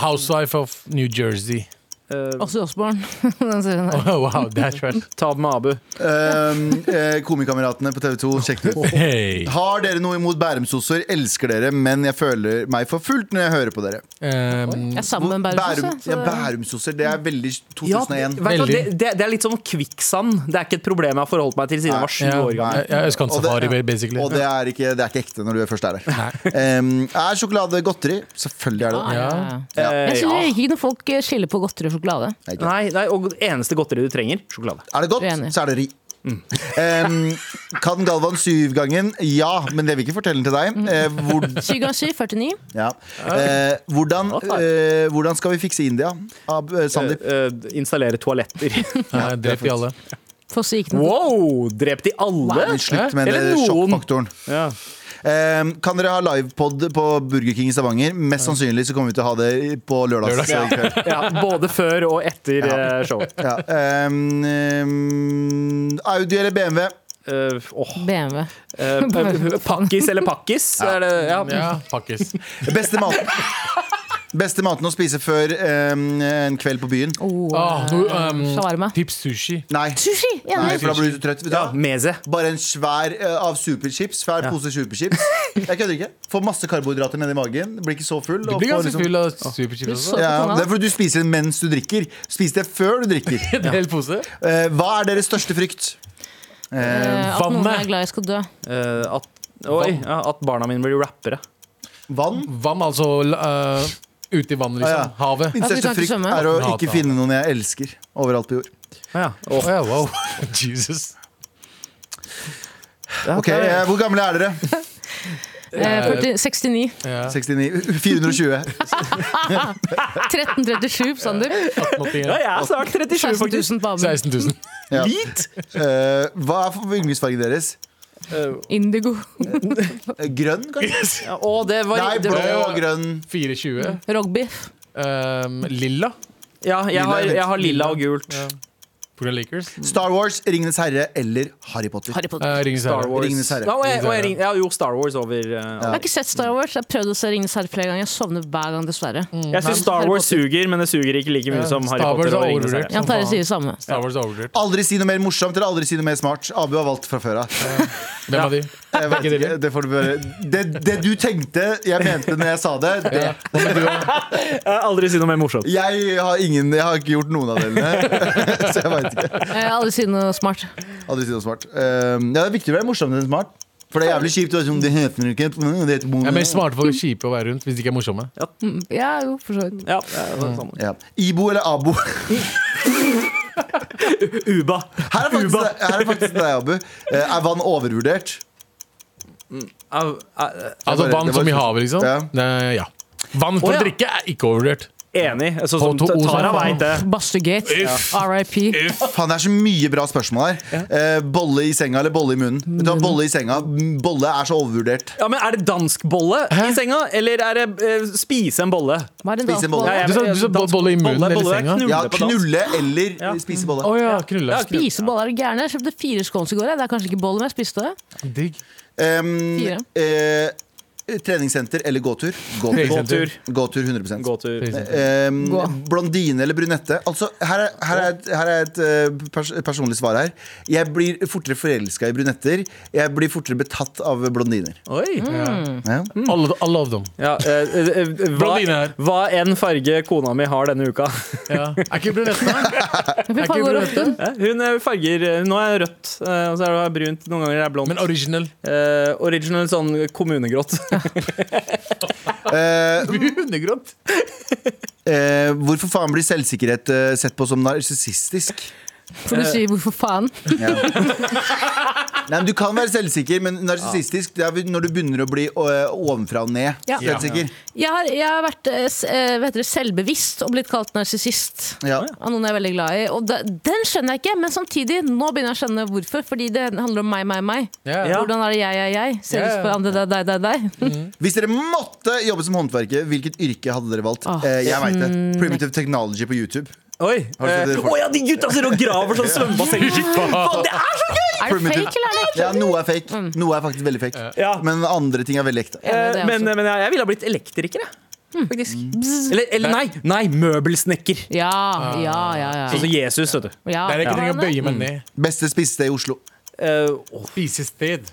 Speaker 3: Housewife of New Jersey.
Speaker 5: Også Osborn. Den serien der.
Speaker 3: Oh, wow, det er trash.
Speaker 2: Ta det med Abu.
Speaker 4: Um, eh, Komikameratene på TV2, sjekk det ut.
Speaker 3: Hey.
Speaker 4: Har dere noe imot bærumsosser? Elsker dere, men jeg føler meg forfulgt når jeg hører på dere.
Speaker 3: Um,
Speaker 5: Jeg er sammen med en bærumse.
Speaker 4: Bærum- ja, Bærumsosser, det er veldig
Speaker 2: Ja,
Speaker 4: 2001.
Speaker 2: vet du hva, det,
Speaker 3: Veldig.
Speaker 2: det, det er litt sånn kvikksand. Det er ikke et problem jeg har forholdt meg til siden jeg var sju
Speaker 3: ja,
Speaker 2: år gammel.
Speaker 3: ja, Østkant-safari,
Speaker 4: Og det-
Speaker 3: basically.
Speaker 4: Og det er, ikke, det er ikke ekte når du først er der. Um, er sjokolade godteri? Selvfølgelig er det det.
Speaker 5: Ja.
Speaker 4: Ja.
Speaker 5: Jeg
Speaker 2: Eh,
Speaker 5: synes
Speaker 2: ja.
Speaker 5: det ikke når folk skiller på godteri og sjokolade.
Speaker 4: Nei, ikke.
Speaker 2: Nei, nei, og eneste godteri du trenger, sjokolade.
Speaker 4: Er det godt,
Speaker 5: Uenig.
Speaker 4: så er det ri. Um, kan Galvan syvgangen? Ja, men det vil ikke fortelle den til deg. Eh, hvor,
Speaker 5: 7 ganger 7, 49.
Speaker 4: ja. eh, hvordan,
Speaker 2: takk.
Speaker 4: eh, hvordan skal vi fikse India? Ab eh, Sandeep.
Speaker 2: Eh, eh, installere toaletter.
Speaker 3: Nei, Drep de alle.
Speaker 5: For så gikk den
Speaker 2: wow! Drep de alle?
Speaker 4: Men Slutt med
Speaker 2: Eller
Speaker 4: den
Speaker 2: noen.
Speaker 4: sjokkfaktoren.
Speaker 2: Ja.
Speaker 4: Um, kan dere ha livepod på Burger King i Stavanger? Mest sannsynlig så kommer vi til å ha det på lørdag.
Speaker 3: Lørdag,
Speaker 4: kveld.
Speaker 2: ja, Både før og etter eh, showet.
Speaker 4: Ja. Um, um, Audi eller BMW?
Speaker 2: Eh, åh.
Speaker 5: BMW.
Speaker 2: Eh, pa- pakkis eller pakkis? Er det, ja.
Speaker 3: Ja, pakkes.
Speaker 4: Beste maten Beste maten å spise før um, en kveld på byen?
Speaker 5: Oh,
Speaker 3: Ah, no, um,
Speaker 5: shawarma.
Speaker 3: tips sushi.
Speaker 4: Nei.
Speaker 5: Sushi!
Speaker 4: Nei,
Speaker 5: Enig.
Speaker 4: for da blir du trøtt. Vet du
Speaker 2: ja
Speaker 4: hva?
Speaker 2: Meze.
Speaker 4: Bare en svær eh, av superchips. Svær pose superchips. Jeg kødder ikke. Får masse karbohydrater nedi magen. Blir ikke så full.
Speaker 3: Du
Speaker 4: og
Speaker 3: blir
Speaker 4: får
Speaker 3: ganske
Speaker 4: liksom-
Speaker 3: full av superchips også.
Speaker 4: Ja, det er fordi du spiser den mens du drikker. Spis det før du drikker.
Speaker 3: En hel pose.
Speaker 4: Eh, hva er deres største frykt?
Speaker 5: Eh, At noen
Speaker 3: vannet.
Speaker 5: jeg er glad jeg skal dø.
Speaker 2: Eh, at, oi, ja, at barna mine blir rappere.
Speaker 4: Vann?
Speaker 3: Vann, altså uh, ute i vannet,
Speaker 4: Ah,
Speaker 3: liksom.
Speaker 4: ja.
Speaker 3: Havet.
Speaker 4: Min
Speaker 5: At du
Speaker 4: største
Speaker 5: kan ikke
Speaker 4: frykt
Speaker 5: svømme?
Speaker 4: er å
Speaker 3: Hater
Speaker 4: ikke
Speaker 3: han.
Speaker 4: finne noen jeg elsker overalt på jord.
Speaker 2: Ja.
Speaker 3: Å ja, wow. Jesus.
Speaker 4: Ok, eh, Hvor gamle er dere?
Speaker 5: Eh, 40, 69.
Speaker 4: 69 420.
Speaker 5: 1337, Sander.
Speaker 2: Ja, jeg er snart 37,
Speaker 5: 16
Speaker 2: faktisk.
Speaker 5: 000 på Amund.
Speaker 3: 16 000.
Speaker 4: Ja.
Speaker 2: Hvit!
Speaker 4: Eh, hva er for yndlingsfargen deres?
Speaker 5: Indigo.
Speaker 4: Eh, Grønn, kanskje?
Speaker 2: Ja, å, det var
Speaker 4: Nei,
Speaker 2: det
Speaker 4: blå
Speaker 2: var-
Speaker 4: og grønn.
Speaker 3: 24.
Speaker 5: Rogbiff.
Speaker 3: Um, lilla.
Speaker 2: Ja, jeg har, jeg har lilla og gult.
Speaker 3: På grunn av Lakers.
Speaker 4: Star Wars, Ringenes herre eller Harry Potter?
Speaker 5: Harry Potter.
Speaker 3: Uh, Ringens
Speaker 2: Star
Speaker 3: herre.
Speaker 2: Wars.
Speaker 4: Ringenes herre.
Speaker 2: Ja, og jeg, og jeg, ring- ja, jo, Star Wars over eh,
Speaker 5: Jeg har ikke sett Star Wars. Jeg har prøvd å se Ringenes herre flere ganger. Jeg sovner hver gang, dessverre.
Speaker 2: Jeg syns Star
Speaker 5: Harry
Speaker 2: Wars
Speaker 5: Potter.
Speaker 2: suger, men det suger ikke like mye
Speaker 3: Ja,
Speaker 2: som Harry
Speaker 3: Star Wars
Speaker 2: Potter. og
Speaker 3: er
Speaker 2: Ringenes
Speaker 3: overvurdert.
Speaker 2: herre.
Speaker 5: Jan Terje sier det samme.
Speaker 3: Star Wars er overvurdert.
Speaker 4: Aldri si noe mer morsomt eller aldri si noe mer smart. Abu har valgt fra før av.
Speaker 3: Hvem av de?
Speaker 4: Jeg vet
Speaker 3: Begge
Speaker 4: ikke,
Speaker 3: deler.
Speaker 4: Det, får du bare, det, det du tenkte jeg mente når jeg sa det, det
Speaker 2: Jeg har Aldri si noe mer morsomt.
Speaker 4: jeg, har ingen, jeg har ikke gjort noen av delene. Så jeg veit ikke.
Speaker 5: Eh, Alle sier noe smart.
Speaker 4: Aldri si noe smart. Um, ja, det er viktig å være morsom enn smart. For det er jævlig kjipt. å være sånn, Det heter ikke det heter
Speaker 3: Ja, men
Speaker 4: mono.
Speaker 3: smarte folk er kjipe å være rundt hvis de ikke er morsomme.
Speaker 5: Ja, jo, for så vidt.
Speaker 2: Ja, det er det samme.
Speaker 4: Ja. Ibo eller Abo?
Speaker 2: Uba.
Speaker 4: Her er faktisk, her er faktisk deg, Abu. Eh, Er vann overvurdert?
Speaker 2: Au, au,
Speaker 3: Altså
Speaker 4: bare-
Speaker 3: vann
Speaker 4: det var-
Speaker 3: som i havet, liksom.
Speaker 4: Ja.
Speaker 3: Nei, ja. Vann for
Speaker 2: Å, ja.
Speaker 3: å drikke er ikke overvurdert.
Speaker 2: Enig. Sånn som
Speaker 3: På to-
Speaker 2: Tara veit det.
Speaker 5: Bastugate. RIP.
Speaker 4: Faen, det er så mye bra spørsmål her. Eh, Bolle i senga eller bolle i munnen? Vet du hva, Bolle i senga. Bolle er så overvurdert.
Speaker 2: Ja, men Er det danskbolle i senga, eller er det eh, spise en bolle?
Speaker 5: Hva er en
Speaker 4: Spise en bolle.
Speaker 5: dansebolle?
Speaker 2: Ja, jeg-
Speaker 3: Du sa- du sa
Speaker 2: dansk-
Speaker 3: bolle i munnen
Speaker 2: bolle-
Speaker 3: eller
Speaker 2: bolle,
Speaker 3: senga?
Speaker 2: Knulle
Speaker 4: Ja,
Speaker 2: på dans.
Speaker 4: knulle eller
Speaker 2: Ja.
Speaker 4: spise bolle.
Speaker 3: Å ja, knulle.
Speaker 2: Ja, knulle.
Speaker 5: Spise boller, er du gæren? Jeg kjøpte fire scones i går. jeg. Det er kanskje ikke boller, men jeg spiste det.
Speaker 3: Digg.
Speaker 4: Um,
Speaker 5: Fire.
Speaker 4: eh, treningssenter eller gåtur? Gåtur,
Speaker 3: Treningssenter.
Speaker 4: gåtur 100
Speaker 2: Gåtur.
Speaker 4: Um,
Speaker 5: Gå.
Speaker 4: blondine eller brunette? Altså, her er, her er, et, her er et eh, pers personlig svar her. Jeg blir fortere forelska i brunetter. Jeg blir fortere betatt av blondiner.
Speaker 2: Oi.
Speaker 4: Ja.
Speaker 3: Alle, alle av dem.
Speaker 2: Ja, eh, eh, eh, hva,
Speaker 3: Blondine her.
Speaker 2: hva enn farge kona mi har denne uka.
Speaker 3: Ja. Er ikke brunettene?
Speaker 5: Fy faen, går opp den.
Speaker 2: Eh, Hun er farger eh, Nå er jeg rødt, eh, og så er det brunt. Noen ganger er jeg blond.
Speaker 3: Men original.
Speaker 2: Eh, original sånn kommunegrått.
Speaker 4: Eh,
Speaker 3: Hundegrått.
Speaker 4: eh, hvorfor faen blir selvsikkerhet eh, sett på som narsissistisk?
Speaker 5: For du sier 'hvorfor faen'?
Speaker 4: Ja. Nei, men du kan være selvsikker, men narsissistisk det er når du begynner å bli eh, ovenfra og ned.
Speaker 5: Ja.
Speaker 4: Selvsikker.
Speaker 5: Jeg har, jeg har vært eh, s- eh, hva heter det, selvbevisst og blitt kalt narsissist.
Speaker 4: Ja.
Speaker 5: Av noen jeg er veldig glad i. Og da- den skjønner jeg ikke, men samtidig, nå begynner jeg å skjønne hvorfor. Fordi det handler om meg, meg, meg.
Speaker 3: Ja.
Speaker 5: Hvordan er det jeg, jeg, jeg? Ser
Speaker 3: Ja, Mm.
Speaker 5: ut
Speaker 3: ja.
Speaker 5: på andre, deg, deg, deg, deg.
Speaker 4: Hvis dere måtte jobbe som håndverker, hvilket yrke hadde dere valgt?
Speaker 5: Åh. Mm,
Speaker 4: Eh, jeg vet det. Primitive Technology på YouTube.
Speaker 2: Oi!
Speaker 4: Har du sett
Speaker 2: eh,
Speaker 4: det?
Speaker 2: Å ja, de gutta som sitter og graver sånn svømmebasseng. Faen, det er så gøy!
Speaker 5: Er det
Speaker 4: Primitive.
Speaker 5: fake, eller er det ikke?
Speaker 4: Ja, noe er fake.
Speaker 5: Mm.
Speaker 4: Noe er faktisk veldig fake.
Speaker 2: Ja.
Speaker 4: Men andre ting er veldig ekte.
Speaker 5: Enig i
Speaker 2: Eh,
Speaker 5: det,
Speaker 2: Men,
Speaker 5: altså.
Speaker 2: men jeg, jeg ville ha blitt elektriker, jeg. Faktisk.
Speaker 4: Mm.
Speaker 2: Eller, eller nei, nei, møbelsnekker.
Speaker 5: ja,
Speaker 3: Ah.
Speaker 5: ja, ja, ja.
Speaker 2: Sånn som Jesus, vet du.
Speaker 5: ja.
Speaker 3: Der jeg ikke trenger å bøye meg ned.
Speaker 4: Beste spisested i Oslo.
Speaker 2: Eh,
Speaker 3: Spisested.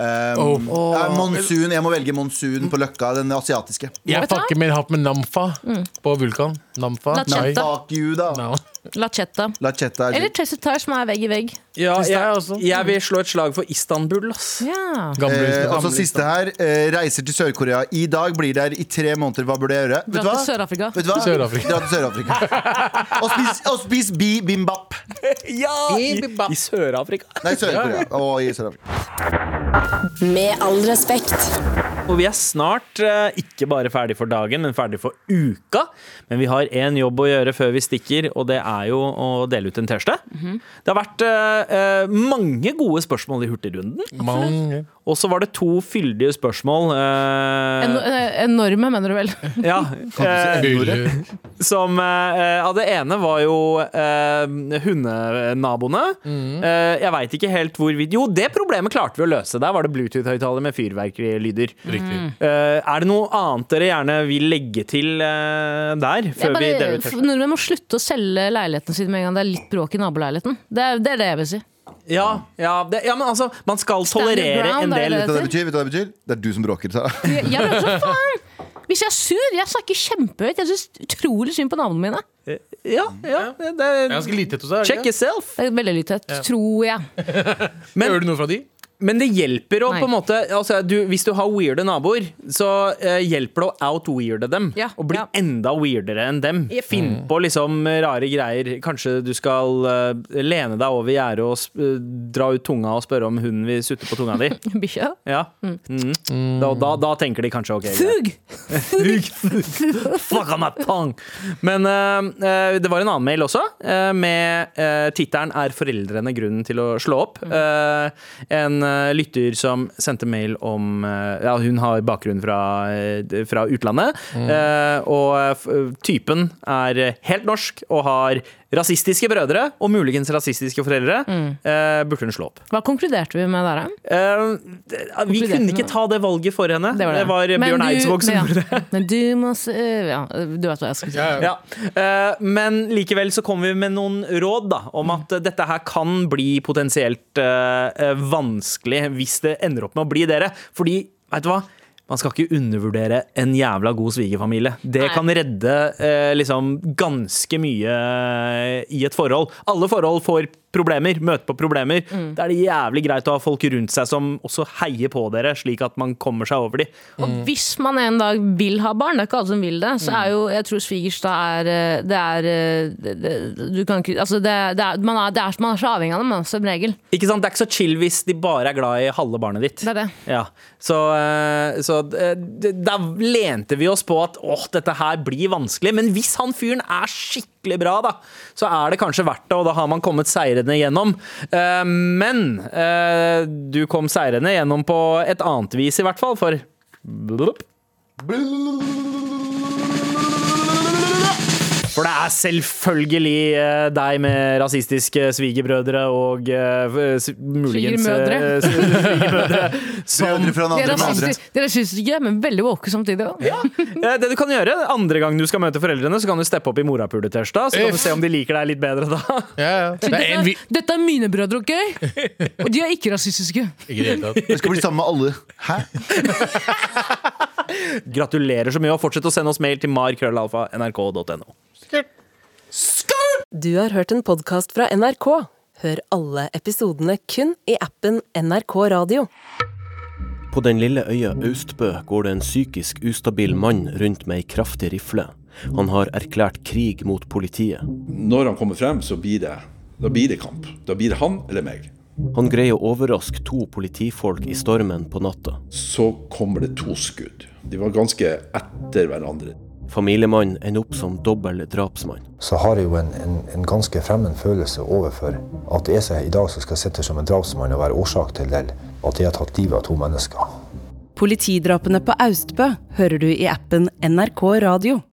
Speaker 4: Um,
Speaker 3: Oh.
Speaker 4: eh, monsun, jeg må velge monsun på Løkka, den asiatiske.
Speaker 3: Jeg
Speaker 5: Vet du hva?
Speaker 3: fucker med hatt med Namfa
Speaker 4: Mm.
Speaker 3: på Vulkan. Namfa.
Speaker 5: Lachette.
Speaker 3: Nei.
Speaker 4: Fuck you, da.
Speaker 3: No.
Speaker 5: Lachetta.
Speaker 4: Lachetta er
Speaker 5: Eller
Speaker 4: digg.
Speaker 5: Tracy Tar, som er vegg i vegg.
Speaker 2: ja,
Speaker 3: Tusen takk,
Speaker 2: jeg,
Speaker 3: altså.
Speaker 2: jeg vil slå et slag for Istanbul, ass.
Speaker 5: Ja.
Speaker 3: Gamle
Speaker 4: Eh,
Speaker 3: huset.
Speaker 4: og så siste her. Eh, reiser til Sør-Korea. I dag blir der i tre måneder. Hva burde jeg gjøre? Vet du
Speaker 5: Dra til
Speaker 4: hva?
Speaker 5: Sør-Afrika.
Speaker 4: Vet du hva?
Speaker 3: Sør-Afrika.
Speaker 4: Dra til Sør-Afrika. og spis, og spis bi bimbap.
Speaker 2: Ja! I, i Sør-Afrika.
Speaker 4: Nei, Sør-Korea. Å, i Sør-Afrika.
Speaker 1: Med all respekt.
Speaker 2: Og vi er snart eh, ikke bare ferdig for dagen, men ferdig for uka. Men vi har en jobb å gjøre før vi stikker, og det er jo å dele ut en T-skjorte. Det har vært eh, eh, mange gode spørsmål i Hurtigrunden.
Speaker 3: Mange.
Speaker 2: Og så var det to fyldige spørsmål eh,
Speaker 5: En, eh, enorme, mener du vel?
Speaker 2: ja, eh,
Speaker 3: Buller.
Speaker 2: som eh, ja, Det ene var jo eh, hundenaboene.
Speaker 5: Mm.
Speaker 2: Eh, jeg veit ikke helt hvor vi Jo, det problemet klarte vi å løse. Der var det Bluetooth-høyttaler med fyrverkerilyder.
Speaker 3: Riktig.
Speaker 5: Mm.
Speaker 2: Eh, er det noe annet dere gjerne vil legge til eh, der?
Speaker 5: Jeg
Speaker 2: Før vi
Speaker 5: bare,
Speaker 2: deler ut
Speaker 5: f-
Speaker 2: T-skjorten?
Speaker 5: nordmenn må slutte å selge leiligheten sin med en gang det er litt bråk i naboleiligheten. Det er det, er det jeg vil si.
Speaker 2: ja, ja, det, ja, men altså, man skal
Speaker 5: Stand your
Speaker 2: tolerere en
Speaker 5: ground, er
Speaker 2: del
Speaker 4: Vet du hva det betyr? Vet du hva det betyr? Det er du som bråker. Sara.
Speaker 5: Jeg, jeg blir også faen! Hvis jeg er sur, jeg snakker kjempehøyt. Jeg syns utrolig synd på navnene mine.
Speaker 2: Ja, ja, det
Speaker 3: Det er
Speaker 2: er,
Speaker 3: ganske lite hos deg. er det
Speaker 2: Check
Speaker 3: ikke?
Speaker 2: yourself!
Speaker 5: Det er veldig lydtett, tror jeg.
Speaker 3: Men, Gjør du noe fra de?
Speaker 2: Men det hjelper å
Speaker 5: Nei.
Speaker 2: på en måte altså, du, Hvis du har weirde naboer, så eh, hjelper det å out-weirde dem.
Speaker 5: Ja,
Speaker 2: Og bli
Speaker 5: ja.
Speaker 2: enda weirdere enn dem.
Speaker 5: Jepp.
Speaker 2: Finn på liksom rare greier. Kanskje du skal eh, lene deg over gjerdet og sp- eh, dra ut tunga og spørre om hunden vil sutte på tunga di.
Speaker 5: Bikkja.
Speaker 2: Ja. Mhm. Da, da, da tenker de kanskje OK. greit.
Speaker 5: Fug!
Speaker 2: Fuck on my tongue! Men eh, eh, det var en annen mail også, eh, med uh, tittelen 'Er foreldrene grunnen til å slå opp?' Eh, en eh, lytter som sendte mail om eh, Ja, hun har bakgrunn fra, eh, fra utlandet. eh, og eh, f- typen er helt norsk og har rasistiske brødre og muligens rasistiske foreldre. Eh, burde hun slå opp?
Speaker 5: Hva konkluderte vi med der, da?
Speaker 2: Eh, vi kunne ikke ta det valget for henne. Det var,
Speaker 5: Men
Speaker 2: Bjørn
Speaker 5: du-
Speaker 2: Eidsvåg som
Speaker 5: ja.
Speaker 2: gjorde det.
Speaker 5: Men du må se Ja, du vet hva jeg skal si.
Speaker 2: Ja. Eh, men likevel så kommer vi med noen råd da, om at eh, dette her kan bli potensielt eh, eh, vanskelig hvis det ender opp med å bli dere. Fordi, vet du hva? Man skal ikke undervurdere en jævla god svigerfamilie. Det
Speaker 5: Nei.
Speaker 2: kan redde eh, liksom ganske mye eh, i et forhold. Alle forhold får problemer, møter på problemer. Da er det jævlig greit å ha folk rundt seg som også heier på dere, slik at man kommer seg over de.
Speaker 5: Og hvis man en dag vil ha barn, det er ikke alle som vil det,
Speaker 2: Mm.
Speaker 5: så er jo Jeg tror svigers da er eh, Det er eh, det, det, Du kan ikke Altså, det, det er, man, er, det er, man er så avhengig av dem, da, som regel.
Speaker 2: Ikke sant? Det er ikke så chill hvis de bare er glad i halve barnet ditt.
Speaker 5: Det er det.
Speaker 2: Ja, så, eh, så eh, d- da lente vi oss på at åh, dette her blir vanskelig. Men hvis han fyren er skikkelig bra, da, så er det kanskje verdt det, og da har man kommet seirende gjennom. Eh, Men eh, du kom seirende gjennom på et annet vis, i hvert fall, for For det er selvfølgelig eh, deg med rasistiske svigerbrødre og eh, s- muligens
Speaker 5: Svigermødre.
Speaker 2: eh, s- svigermødre som
Speaker 4: Brødre fra den
Speaker 5: Dere
Speaker 4: andre med
Speaker 5: er
Speaker 4: andre.
Speaker 5: rasistiske- dere er rasistiske, men veldig woke samtidig. også.
Speaker 2: Eh, Det du kan gjøre, Andre gang du skal møte foreldrene, så kan du steppe opp i morapuletørsdag. Så kan du se om de liker deg litt bedre da.
Speaker 3: Ja, ja. Det er en vi...
Speaker 5: Dette, dette er mine brødre, OK? Og de er ikke rasistiske.
Speaker 3: Ikke i det hele tatt.
Speaker 4: Jeg skal bli sammen med alle. Hæ?
Speaker 2: Gratulerer så mye, og fortsett å sende oss mail til markrøllalfa.nrk.no.
Speaker 1: Du har hørt en podkast fra NRK. Hør alle episodene kun i appen NRK Radio.
Speaker 8: På den lille øya Austbø går det en psykisk ustabil mann rundt med ei kraftig rifle. Han har erklært krig mot politiet.
Speaker 9: Når han kommer frem, så blir det, da blir det kamp. Da blir det han eller meg.
Speaker 8: Han greier å overraske to politifolk i stormen på natta.
Speaker 9: Så kommer det to skudd. De var ganske etter hverandre.
Speaker 8: Familiemannen ender opp som dobbel drapsmann.
Speaker 10: så har jeg jo en, en, en ganske fremmed følelse overfor at det er seg i dag som skal sitte som en drapsmann og være årsak til det, at jeg har tatt livet av to mennesker.
Speaker 1: Politidrapene på Austbø hører du i appen NRK Radio.